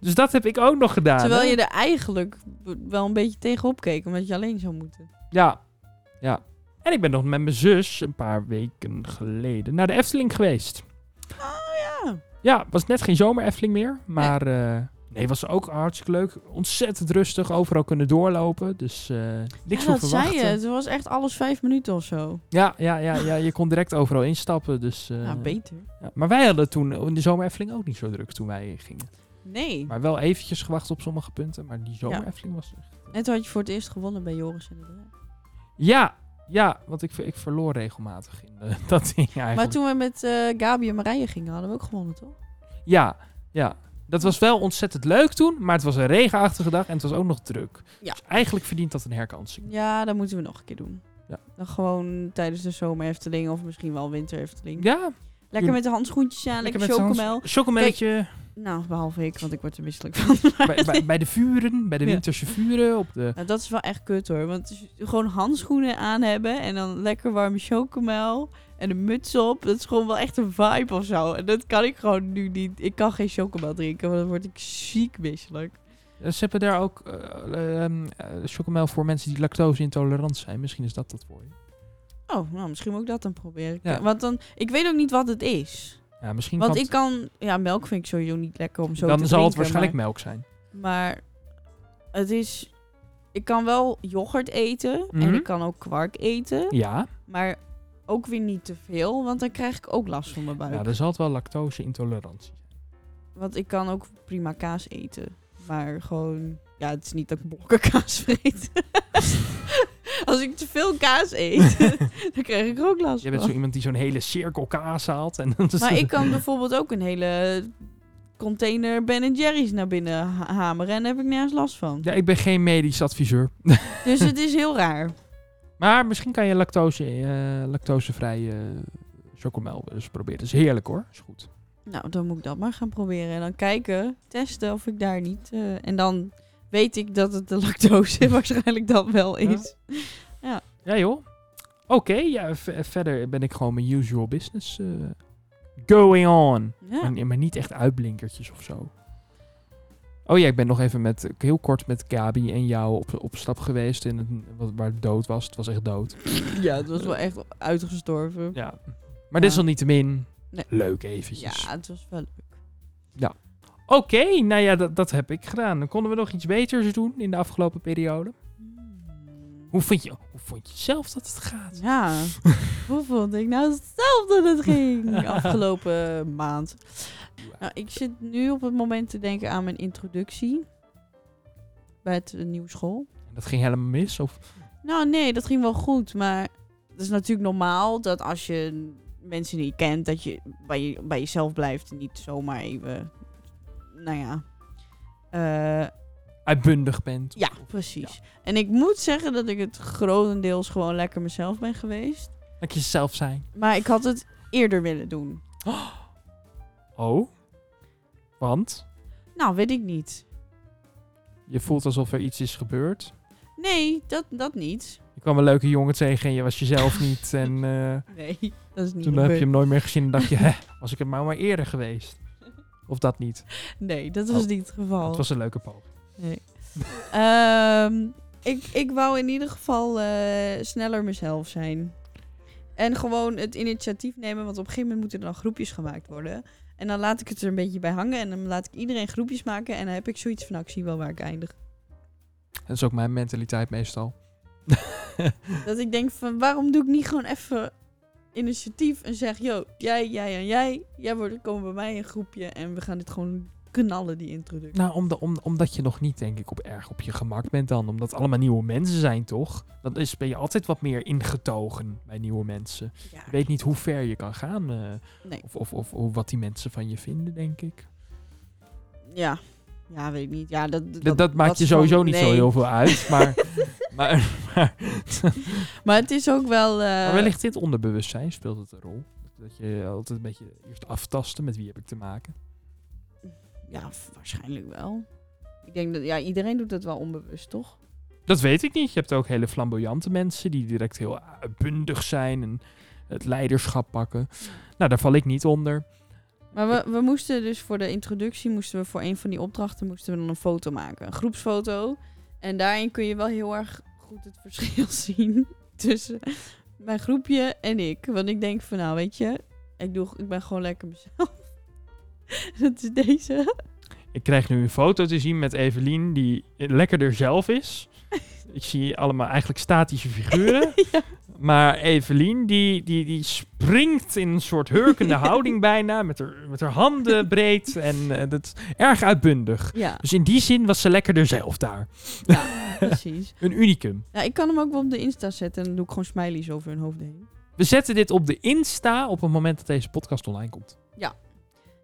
S2: Dus dat heb ik ook nog gedaan.
S1: Terwijl
S2: hè?
S1: je er eigenlijk b- wel een beetje tegenop keek, omdat je alleen zou moeten.
S2: Ja, ja. En ik ben nog met mijn zus een paar weken geleden naar de Efteling geweest.
S1: Oh ja.
S2: Ja, was net geen zomer Efteling meer, maar eh, nee, was ook hartstikke leuk. Ontzettend rustig, overal kunnen doorlopen, dus eh, niks
S1: ja,
S2: van
S1: dat zei
S2: verwachten.
S1: je. Het was echt alles vijf minuten of zo.
S2: Ja, ja, ja, ja, je kon direct overal instappen, dus. eh,
S1: nou, beter.
S2: ja. Maar wij hadden toen in de zomer Efteling ook niet zo druk toen wij gingen.
S1: Nee.
S2: Maar wel eventjes gewacht op sommige punten, maar die zomer Efteling was echt.
S1: Net had je voor het eerst gewonnen bij Joris en de Draak.
S2: Ja, ja, want ik, ver- ik verloor regelmatig in eh, dat ding eigenlijk.
S1: Maar toen we met eh, Gabi en Marije gingen, hadden we ook gewonnen, toch?
S2: Ja, ja. Dat was wel ontzettend leuk toen, maar het was een regenachtige dag en het was ook nog druk.
S1: Ja.
S2: Dus eigenlijk verdient dat een herkansing.
S1: Ja, dat moeten we nog een keer doen.
S2: Ja.
S1: Dan gewoon tijdens de zomer Efteling of misschien wel winter Efteling.
S2: Ja,
S1: Lekker met de handschoentjes aan, lekker,
S2: zo'n
S1: chocomel.
S2: Chocomelletje.
S1: Nou, behalve ik, want ik word er misselijk van.
S2: Bij, bij, bij de vuren, bij de
S1: Ja.
S2: winterse vuren. Op de...
S1: Nou, dat is wel echt kut hoor. Want s- gewoon handschoenen aan hebben en dan lekker warme chocomel en een muts op. Dat is gewoon wel echt een vibe of zo. En dat kan ik gewoon nu niet. Ik kan geen chocomel drinken, want dan word ik ziek misselijk.
S2: Ze hebben daar ook eh, ehm, eh, chocomel voor mensen die lactose intolerant zijn. Misschien is dat dat voor je.
S1: Oh, nou, misschien moet ik dat dan proberen.
S2: Ja.
S1: Want dan, ik weet ook niet wat het is.
S2: Ja, misschien
S1: Want
S2: kan
S1: ik kan... Ja, melk vind ik sowieso niet lekker om zo
S2: dan
S1: te
S2: zal het
S1: drinken,
S2: waarschijnlijk melk zijn.
S1: Maar, maar het is... Ik kan wel yoghurt eten. En
S2: Mhm.
S1: ik kan ook kwark eten.
S2: Ja,
S1: Maar ook weer niet te veel. Want dan krijg ik ook last van mijn buik.
S2: ja, dus- er zal het wel lactose intolerantie zijn.
S1: Want ik kan ook prima kaas eten. Maar gewoon... Ja, het is niet dat ik blokken kaas vreet. Als ik te veel kaas eet, dan krijg ik er ook last
S2: Je bent
S1: van.
S2: zo iemand die zo'n hele cirkel kaas haalt. En dan is
S1: Oh. Maar
S2: het-
S1: ik kan bijvoorbeeld ook een hele container Ben Jerry's naar binnen ha- hameren en daar heb ik nergens last van.
S2: Ja, ik ben geen medisch adviseur.
S1: Dus het is heel raar.
S2: Maar misschien kan je lactose, eh, lactosevrije chocomel eens proberen. Dat is heerlijk hoor. Is goed.
S1: Nou, dan moet ik dat maar gaan proberen en dan kijken, testen of ik daar niet. eh, en dan weet ik dat het de lactose waarschijnlijk dan wel is.
S2: Ja joh. Oké, ja, v- eh, verder ben ik gewoon mijn usual business eh, going on.
S1: Ja.
S2: Maar, maar niet echt uitblinkertjes of zo. Oh ja, ik ben nog even met, heel kort met Gabi en jou op, op stap geweest. In het, wat- waar het dood was. Het was echt dood.
S1: ja, het was wel echt uitgestorven.
S2: Ja. Maar dit is
S1: Ja.
S2: al niet te min.
S1: Nee.
S2: Leuk eventjes.
S1: Ja, het was wel leuk.
S2: Oké, nou ja, dat, dat heb ik gedaan. Dan konden we nog iets beters doen in de afgelopen periode. Hoe vond je, hoe vond je zelf dat het gaat?
S1: Ja, hoe vond ik nou hetzelfde dat het ging afgelopen maand?
S2: eh,
S1: Nou, ik zit nu op het moment te denken aan mijn introductie bij het eh, nieuwe school.
S2: Dat ging helemaal mis? Of?
S1: Nou nee, dat ging wel goed, maar het is natuurlijk normaal dat als je mensen niet kent, dat je bij, je, bij jezelf blijft en niet zomaar even, nou ja, eh,
S2: Uitbundig bent?
S1: ja, precies. En ik moet zeggen dat ik het grotendeels gewoon lekker mezelf ben geweest.
S2: Dat je zelf zijn?
S1: Maar ik had het eerder willen doen.
S2: Oh? Want?
S1: Nou, weet ik niet.
S2: Je voelt alsof er iets is gebeurd.
S1: Nee, dat, dat niet.
S2: Je kwam een leuke jongen tegen en je was jezelf niet. En eh,
S1: Nee, dat is niet
S2: toen heb je
S1: gebeurd.
S2: hem nooit meer gezien en dacht je, hè, was ik het maar maar eerder geweest. Of dat niet.
S1: Nee, dat was
S2: Oh.
S1: niet het
S2: Het
S1: geval.
S2: was een leuke poging.
S1: Nee. Ehm, ik, ik wou in ieder geval eh, sneller mezelf zijn. En gewoon het initiatief nemen, want op een gegeven moment moeten er dan groepjes gemaakt worden. En dan laat ik het er een beetje bij hangen en dan laat ik iedereen groepjes maken. En dan heb ik zoiets van, nou, ik zie wel waar ik eindig.
S2: Dat is ook mijn mentaliteit meestal.
S1: Dat ik denk van, waarom doe ik niet gewoon even initiatief en zeg... Yo, jij, jij en jij, jij wordt, komen bij mij in een groepje en we gaan dit gewoon knallen, die introductie.
S2: Nou, om de- om, omdat je nog niet, denk ik, op erg op je gemak bent dan. Omdat het allemaal nieuwe mensen zijn, toch? Dan is, ben je altijd wat meer ingetogen bij nieuwe mensen.
S1: Ja.
S2: Je weet niet hoe ver je kan gaan. eh,
S1: Nee.
S2: of, of, of, of wat die mensen van je vinden, denk ik.
S1: Ja. ja, weet ik niet. Ja, dat,
S2: Dat, dat maakt je sowieso niet zo
S1: nee. Eh.
S2: heel veel uit. Maar, maar, maar,
S1: Maar het is ook wel... eh,
S2: maar wellicht dit onderbewustzijn speelt het een rol. Dat je altijd een beetje eerst aftasten met wie heb ik te maken.
S1: Ja, v- waarschijnlijk wel. Ik denk dat ja, iedereen doet dat wel onbewust, toch?
S2: Dat weet ik niet. Je hebt ook hele flamboyante mensen die direct heel uitbundig zijn en het leiderschap pakken. Nou, daar val ik niet onder.
S1: Maar we, we moesten dus voor de introductie, moesten we voor een van die opdrachten, moesten we dan een foto maken. Een groepsfoto. En daarin kun je wel heel erg goed het verschil zien tussen mijn groepje en ik. Want ik denk van, nou weet je, ik, doe, ik ben gewoon lekker mezelf. dat is deze.
S2: Ik krijg nu een foto te zien met Evelien die lekkerder zelf is. Ik zie allemaal eigenlijk statische figuren.
S1: Ja.
S2: Maar Evelien, die, die, die springt in een soort hurkende houding bijna. Met haar, met haar handen breed. En eh, dat is erg uitbundig.
S1: Ja,
S2: Dus in die zin was ze lekkerder zelf daar.
S1: precies.
S2: Een unicum.
S1: Ja, ik kan hem ook wel op de Insta zetten en dan doe ik gewoon smileys over hun hoofd heen.
S2: We zetten dit op de Insta op het moment dat deze podcast online komt.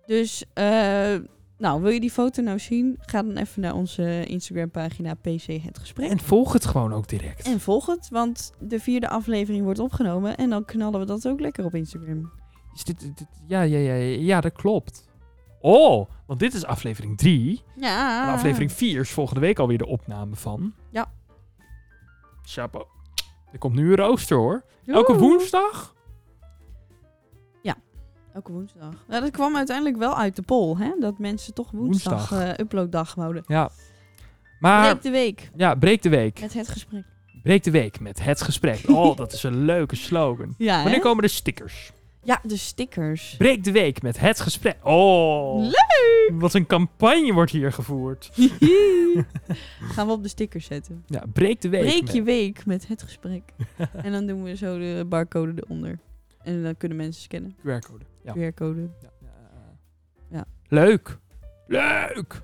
S1: Dus, eh, nou, wil je die foto nou zien? Ga dan even naar onze Instagram-pagina PC Het Gesprek.
S2: En volg het gewoon ook direct.
S1: En volg het, want de vierde aflevering wordt opgenomen. En dan knallen we dat ook lekker op Instagram.
S2: Is dit, dit- dit- ja, ja, ja, ja, ja, dat klopt. Oh, want dit is aflevering 3.
S1: Ja.
S2: En aflevering 4 is volgende week alweer de opname van.
S1: Ah. Ja.
S2: Chapeau. Er komt nu een rooster hoor. Elke woensdag?
S1: Elke woensdag. Nou, dat kwam uiteindelijk wel uit de poll, hè? Dat mensen toch woensdag,
S2: Woensdag.
S1: eh, uploaddag houden.
S2: Ja. Maar,
S1: Breek de week
S2: ja, breek de week.
S1: met het gesprek.
S2: Breek de week met het gesprek. Oh, dat is een leuke slogan.
S1: Ja,
S2: Wanneer
S1: hè?
S2: komen de stickers?
S1: ja de stickers.
S2: Breek de week met het gesprek. Oh.
S1: Leuk!
S2: Wat een campagne wordt hier gevoerd.
S1: Gaan we op de stickers zetten.
S2: Ja, breek de week.
S1: Breek je
S2: met-
S1: week met het gesprek. en dan doen we zo de barcode eronder. En dan kunnen mensen scannen.
S2: QR-code. Ja.
S1: QR-code.
S2: Ja.
S1: Ja.
S2: Leuk. Leuk.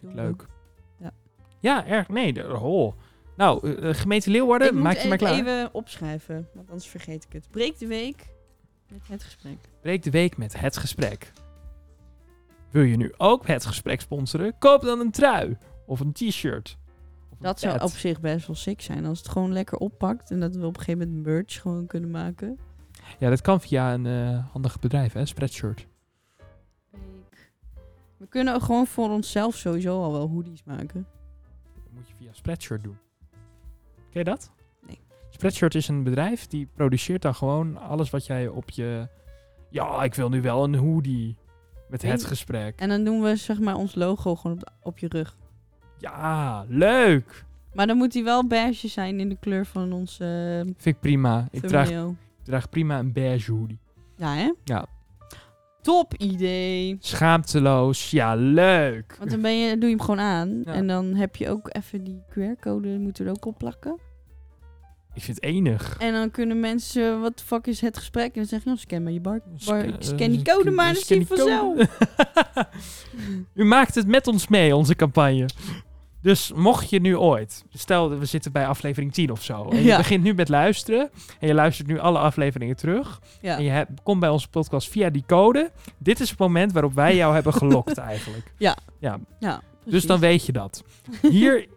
S2: Leuk.
S1: Ja.
S2: Ja, erg. Nee, de, oh. Nou, eh, gemeente Leeuwarden,
S1: Ik moet
S2: maak je maar
S1: het
S2: klaar.
S1: even opschrijven, want anders vergeet ik het. Breek de week met het gesprek.
S2: Breek de week met het gesprek. Wil je nu ook het gesprek sponsoren? Koop dan een trui of een t-shirt. Of een
S1: Dat zou
S2: pet.
S1: op zich best wel sick zijn als het gewoon lekker oppakt en dat we op een gegeven moment merch gewoon kunnen maken.
S2: Ja, dat kan via een eh, handig bedrijf, hè? Spreadshirt.
S1: We kunnen ook gewoon voor onszelf sowieso al wel hoodies maken.
S2: Dat moet je via Spreadshirt doen. Ken je dat?
S1: Nee.
S2: Spreadshirt is een bedrijf die produceert dan gewoon alles wat jij op je... Ja, ik wil nu wel een hoodie met het
S1: En-
S2: gesprek.
S1: En dan doen we zeg maar ons logo gewoon op, de- op je rug.
S2: Ja, leuk!
S1: Maar dan moet die wel beige zijn in de kleur van onze eh,
S2: Vind ik prima. Ik draag,
S1: thumbnail.
S2: draag prima een beige hoodie.
S1: Ja hè?
S2: Ja.
S1: Top idee!
S2: Schaamteloos. Ja, leuk!
S1: Want dan ben je, doe je hem gewoon aan.
S2: Ja.
S1: En dan heb je ook even die QR-code, moeten we er ook op plakken.
S2: Ik vind het enig.
S1: En dan kunnen mensen, wat de fuck is het gesprek? En dan zeg je, oh, scan maar je bar. bar
S2: Sc-
S1: scan
S2: eh,
S1: die code maar, dan
S2: scan
S1: zie je
S2: die code.
S1: vanzelf.
S2: U maakt het met ons mee, onze campagne. Dus mocht je nu ooit, stel dat we zitten bij aflevering 10 of zo, en je
S1: Ja.
S2: begint nu met luisteren, en je luistert nu alle afleveringen terug,
S1: Ja.
S2: en je hebt- komt bij onze podcast via die code, dit is het moment waarop wij jou hebben gelokt eigenlijk.
S1: Ja.
S2: ja.
S1: ja
S2: Dus dan weet je dat. Hier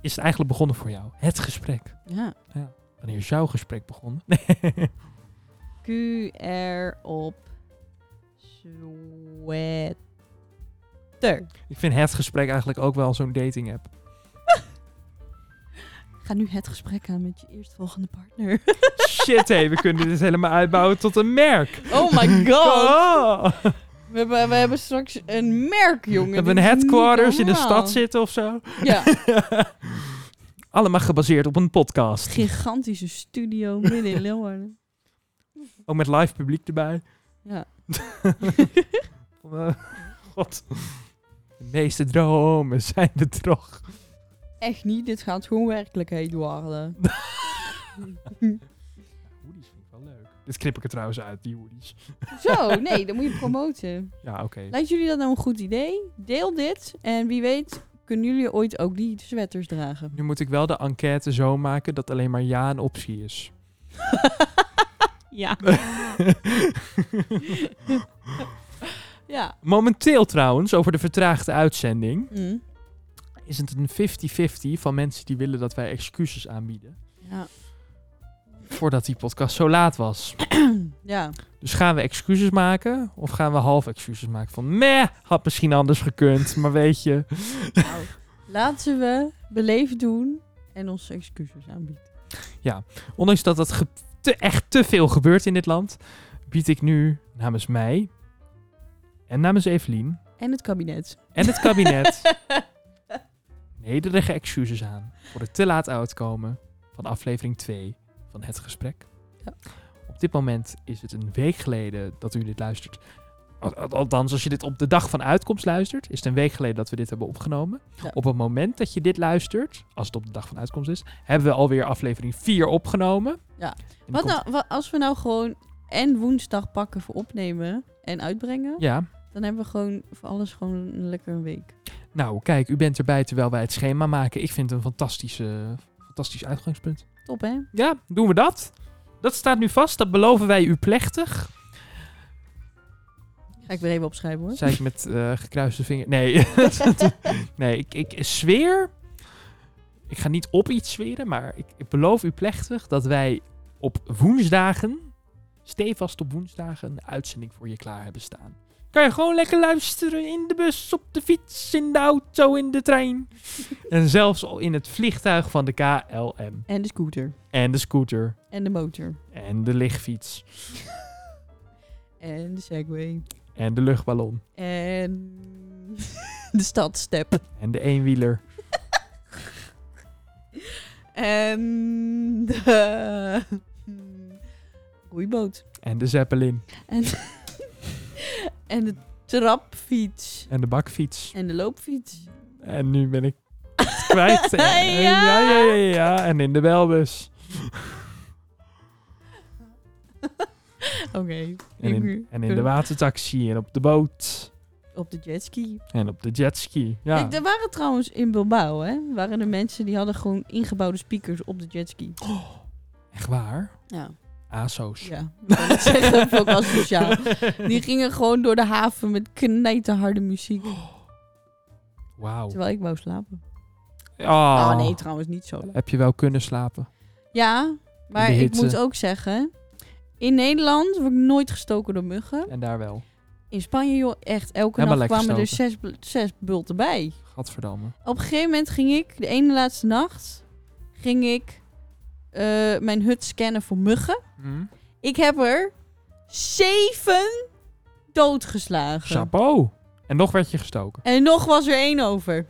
S2: is het eigenlijk begonnen voor jou, het gesprek.
S1: Ja.
S2: Wanneer is jouw gesprek begonnen?
S1: QR op sweater.
S2: Ik vind het gesprek eigenlijk ook wel zo'n dating app.
S1: Ga nu het gesprek aan met je eerstvolgende partner.
S2: Shit, hé, we kunnen dit helemaal uitbouwen tot een merk.
S1: Oh my god.
S2: Oh.
S1: We hebben, we hebben straks een merk, jongen.
S2: We hebben
S1: Dit
S2: een
S1: is niet
S2: headquarters in de
S1: normaal.
S2: stad zitten of zo.
S1: Ja.
S2: Ah, Allemaal gebaseerd op een podcast.
S1: Gigantische studio midden in Leeuwarden.
S2: Ook met live publiek erbij.
S1: Ja.
S2: Eh, God. De meeste dromen zijn bedrog.
S1: Echt niet, dit gaat gewoon werkelijkheid worden.
S2: Hoodies vind ik wel leuk. Dit knip ik er trouwens uit, die hoodies.
S1: Zo, nee, dat moet je promoten.
S2: Ja, oké.
S1: Lijkt jullie dat nou een goed idee? Deel dit en wie weet kunnen jullie ooit ook die sweaters dragen.
S2: Nu moet ik wel de enquête zo maken dat alleen maar ja een optie is.
S1: ja. ja.
S2: Momenteel trouwens, over de vertraagde uitzending,
S1: Mm.
S2: is het een 50-50 van mensen die willen dat wij excuses aanbieden.
S1: Ja.
S2: Voordat die podcast zo laat was.
S1: Ja.
S2: Dus gaan we excuses maken of gaan we half excuses maken? Van meh, had misschien anders gekund, maar weet je.
S1: Nou, laten we beleefd doen en onze excuses aanbieden.
S2: Ondanks dat dat ge- te, echt te veel gebeurt in dit land, bied ik nu namens mij en namens Evelien
S1: En het kabinet.
S2: en het kabinet nederige excuses aan voor het te laat uitkomen van aflevering 2 van Het Gesprek.
S1: Ja.
S2: Op dit moment is het een week geleden dat u dit luistert. Al- al- Althans, als je dit op de dag van uitkomst luistert, is het een week geleden dat we dit hebben opgenomen.
S1: Ja.
S2: Op het moment dat je dit luistert, als het op de dag van uitkomst is, hebben we alweer aflevering 4 opgenomen.
S1: Ja.
S2: En die
S1: Wat
S2: komt-
S1: nou, wa- als we nou gewoon en woensdag pakken voor opnemen en uitbrengen,
S2: Ja,
S1: dan hebben we gewoon voor alles gewoon lekker een week.
S2: nou kijk, u bent erbij terwijl wij het schema maken. Ik vind het een fantastische, fantastisch uitgangspunt.
S1: Top hè?
S2: Ja, doen we dat. Dat staat nu vast, dat beloven wij u plechtig.
S1: Ga ik weer even opschrijven hoor.
S2: Zei ik met eh, gekruiste vinger. Nee, nee ik, ik zweer. Ik ga niet op iets zweren, maar ik, ik beloof u plechtig dat wij op woensdagen, stevast op woensdagen, een uitzending voor je klaar hebben staan. Kan je gewoon lekker luisteren in de bus, op de fiets, in de auto, in de trein. en zelfs al in het vliegtuig van de KLM.
S1: En de scooter.
S2: En de scooter.
S1: En de motor.
S2: En de lichtfiets.
S1: En de segway.
S2: En de luchtballon.
S1: En de stadstep.
S2: En de eenwieler.
S1: En de hm, roeiboot.
S2: En de zeppelin.
S1: En, en de trapfiets.
S2: En de bakfiets.
S1: En de loopfiets.
S2: En nu ben ik het kwijt.
S1: Ja.
S2: En- ja, ja, ja, ja. En in de belbus.
S1: Oké.
S2: En
S1: ik-
S2: in, en in de watertaxi. En op de boot.
S1: Op de jetski.
S2: En op de jetski. Ja.
S1: Kijk, er waren trouwens in Bilbao, hè, waren er mensen die hadden gewoon ingebouwde speakers op de jetski.
S2: Echt waar?
S1: Ja.
S2: ASO's.
S1: Ja. Ik kan het zeggen, vond ik wel speciaal. Die gingen gewoon door de haven met knijterharde muziek,
S2: Oh. Wauw.
S1: terwijl ik wou slapen.
S2: Oh.
S1: Oh nee, trouwens niet zo.
S2: Heb je wel kunnen slapen?
S1: Ja, maar
S2: In de
S1: ik moet
S2: hitte.
S1: ook zeggen, in Nederland word ik nooit gestoken door muggen.
S2: En daar wel.
S1: In Spanje, joh, echt, elke
S2: Helemaal
S1: nacht
S2: lekker
S1: kwamen er zes, bul- zes bulten bij.
S2: Gadverdamme.
S1: Op een gegeven moment ging ik, de ene laatste nacht, ging ik eh, mijn hut scannen voor muggen.
S2: Hm?
S1: Ik heb er zeven doodgeslagen.
S2: Chapeau. En nog werd je gestoken.
S1: En nog was er één over.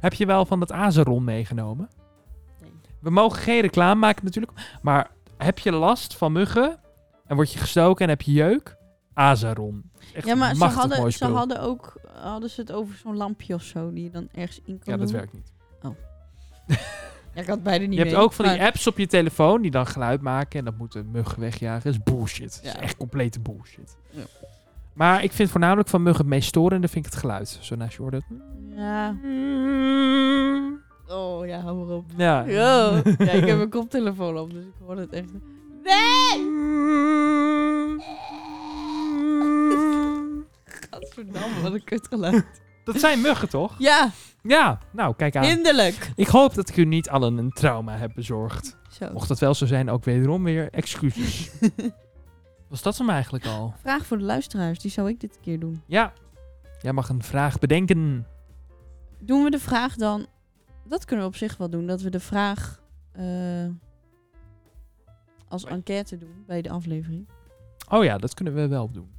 S2: Heb je wel van dat Azeron meegenomen?
S1: Nee.
S2: We mogen geen reclame maken natuurlijk. Maar heb je last van muggen en word je gestoken en heb je jeuk? Azeron. Echt
S1: ja, maar ze
S2: machtig mooi
S1: hadden, ze
S2: spul.
S1: hadden ook hadden ze het over zo'n lampje of zo die je dan ergens in kan
S2: Ja, dat
S1: doen.
S2: werkt niet.
S1: Ja, ik had beide niet
S2: je hebt
S1: mee,
S2: ook van die
S1: maar-
S2: apps op je telefoon die dan geluid maken en dat moeten muggen wegjagen. Dat is bullshit. Dat
S1: Ja.
S2: is echt complete bullshit.
S1: Ja.
S2: Maar ik vind voornamelijk van muggen het meest storende vind ik het geluid. Zo naast je hoort het.
S1: Ja. Oh ja, hou maar op.
S2: Ja.
S1: Yo. Ja, ik heb mijn koptelefoon op, dus ik hoor het echt. Nee!
S2: Mm.
S1: Gadverdamme, wat een kutgeluid.
S2: Dat zijn muggen toch?
S1: Ja,
S2: Ja, nou kijk aan.
S1: hinderlijk.
S2: Ik hoop dat ik u niet allen een trauma heb bezorgd.
S1: Zo.
S2: Mocht dat wel zo zijn, ook wederom weer excuses. Was dat hem eigenlijk al?
S1: Vraag voor de luisteraars, die zou ik dit keer doen.
S2: Ja. Jij mag een vraag bedenken.
S1: Doen we de vraag dan... Dat kunnen we op zich wel doen, dat we de vraag eh, als enquête doen bij de aflevering.
S2: Oh ja, dat kunnen we wel doen.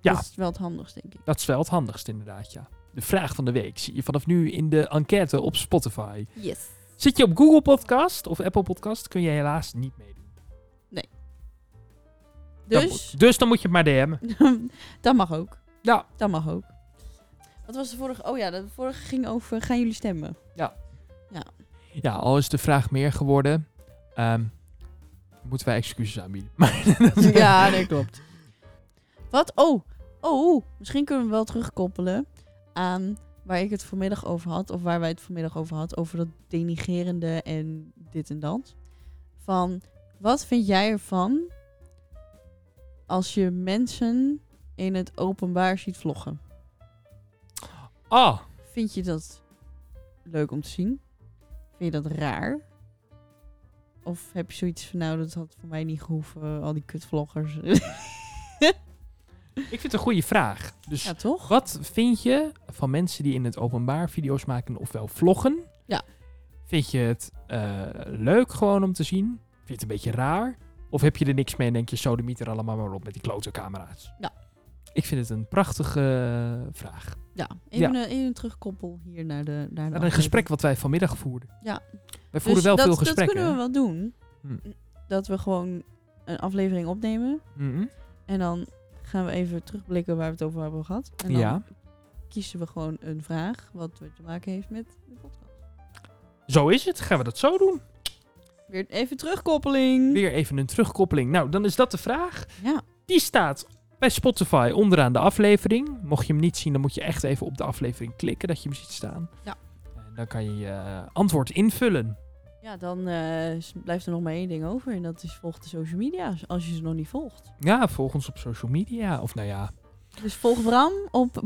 S2: Ja.
S1: Dat is wel het handigst, denk ik.
S2: Dat is wel het handigst inderdaad, ja. De vraag van de week zie je vanaf nu in de enquête op Spotify.
S1: Yes.
S2: Zit je op Google Podcast of Apple Podcast, kun je helaas niet meedoen. Dan
S1: Dus,
S2: moet- dus dan moet je het maar DM'en.
S1: dat mag ook.
S2: Ja.
S1: Dat mag ook. Wat was de vorige? Oh ja, de vorige ging over gaan jullie stemmen?
S2: Ja, al is de vraag meer geworden, ehm, moeten wij excuses aanbieden. Maar
S1: ja, dat klopt. Wat? Oh, oh, misschien kunnen we wel terugkoppelen aan waar ik het vanmiddag over had. Of waar wij het vanmiddag over hadden. Over dat denigerende en dit en dat. Van, wat vind jij ervan als je mensen in het openbaar ziet vloggen?
S2: Ah,
S1: Vind je dat leuk om te zien? Vind je dat raar? Of heb je zoiets van, nou, dat had voor mij niet gehoeven, al die kutvloggers.
S2: ik vind het een goede vraag. Dus
S1: ja, toch?
S2: wat vind je van mensen die in het openbaar video's maken ofwel vloggen?
S1: Ja.
S2: Vind je het eh, leuk gewoon om te zien? Vind je het een beetje raar? Of heb je er niks mee en denk je, zo de er allemaal maar op met die klote camera's?
S1: Ja.
S2: Ik vind het een prachtige eh, vraag.
S1: Ja, even, een- even een terugkoppel hier naar de naar de
S2: Naar een
S1: aflevering.
S2: gesprek wat wij vanmiddag voerden.
S1: Ja.
S2: Wij
S1: Dus
S2: voeren wel
S1: dat,
S2: veel
S1: dat
S2: gesprekken.
S1: kunnen we wel doen.
S2: Hm.
S1: Dat we gewoon een aflevering opnemen.
S2: Mhm.
S1: En dan gaan we even terugblikken waar we het over hebben gehad. En dan
S2: Ja,
S1: kiezen we gewoon een vraag wat te maken heeft met de podcast.
S2: zo is het. Gaan we dat zo doen?
S1: Weer even terugkoppeling.
S2: Weer even een terugkoppeling. Nou, dan is dat de vraag.
S1: Ja,
S2: Die staat bij Spotify onderaan de aflevering. Mocht je hem niet zien, dan moet je echt even op de aflevering klikken dat je hem ziet staan.
S1: Ja.
S2: En dan kan je je antwoord invullen.
S1: ja dan eh, s- blijft er nog maar één ding over. En dat is volg de social media's als je ze nog niet volgt.
S2: Ja, volg ons op social media. Of nou ja,
S1: Dus volg Bram op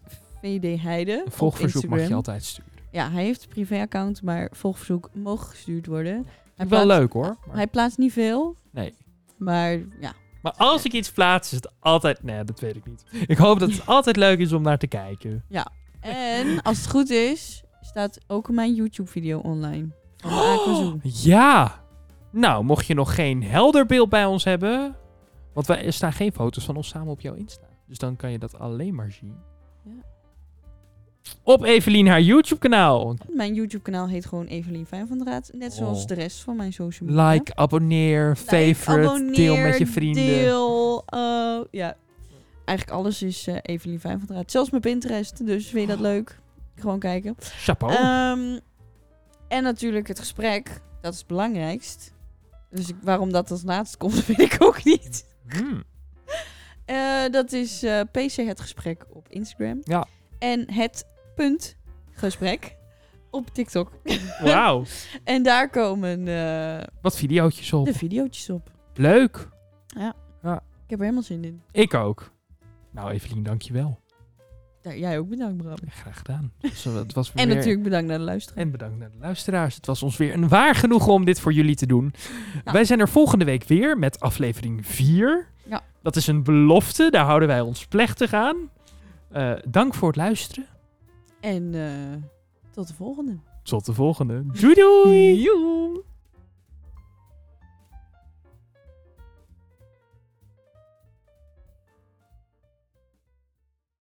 S1: bram.vdheide.
S2: een
S1: op
S2: volgverzoek mag
S1: Instagram.
S2: je altijd sturen.
S1: Ja, hij heeft een privéaccount, maar volgverzoek mogen gestuurd worden. Hij
S2: wel
S1: plaatst-
S2: leuk hoor. Maar,
S1: Hij plaatst niet veel,
S2: nee.
S1: maar ja.
S2: maar als ik iets plaats, is het altijd... Nee, dat weet ik niet. Ik hoop dat het altijd leuk is om naar te kijken.
S1: En als het goed is, staat ook mijn YouTube-video online. Van de Aquazoo.
S2: Ja! Nou, mocht je nog geen helder beeld bij ons hebben... Want wij, er staan geen foto's van ons samen op jouw Insta. Dus dan kan je dat alleen maar zien.
S1: Ja.
S2: Op Evelien haar YouTube-kanaal.
S1: Mijn YouTube-kanaal heet gewoon Evelien Fijn van der Raad. Net zoals
S2: Oh.
S1: de rest van mijn social media.
S2: Like, abonneer,
S1: Like,
S2: favorite,
S1: abonneer,
S2: deel met je vrienden.
S1: Deel, eh, ja. Eigenlijk alles is eh, Evelien Fijn van der Raad. Zelfs mijn Pinterest, dus vind je dat leuk? Gewoon kijken.
S2: Chapeau.
S1: Ehm, en natuurlijk het gesprek. Dat is het belangrijkst. Dus ik- waarom dat als laatst komt, weet ik ook niet.
S2: Hmm.
S1: Eh, dat is eh, PC Het Gesprek op Instagram.
S2: Ja.
S1: En het punt gesprek op TikTok.
S2: Wauw.
S1: En daar komen eh,
S2: Wat videootjes op.
S1: de videootjes op.
S2: Leuk.
S1: Ik heb er helemaal zin in.
S2: Ik ook. Nou, Evelien, dankjewel.
S1: Daar, jij ook bedankt, Bram.
S2: Ja, Graag gedaan. Het was, het was
S1: En
S2: weer-
S1: natuurlijk bedankt naar de luisteraar.
S2: En bedankt naar de luisteraars. Het was ons weer een waar genoegen om dit voor jullie te doen.
S1: Ja.
S2: Wij zijn er volgende week weer met aflevering 4.
S1: Ja.
S2: Dat is een belofte. Daar houden wij ons plechtig aan. Eh, dank voor het luisteren.
S1: En eh, tot de volgende.
S2: Tot de volgende. Doei doei.
S1: Joe.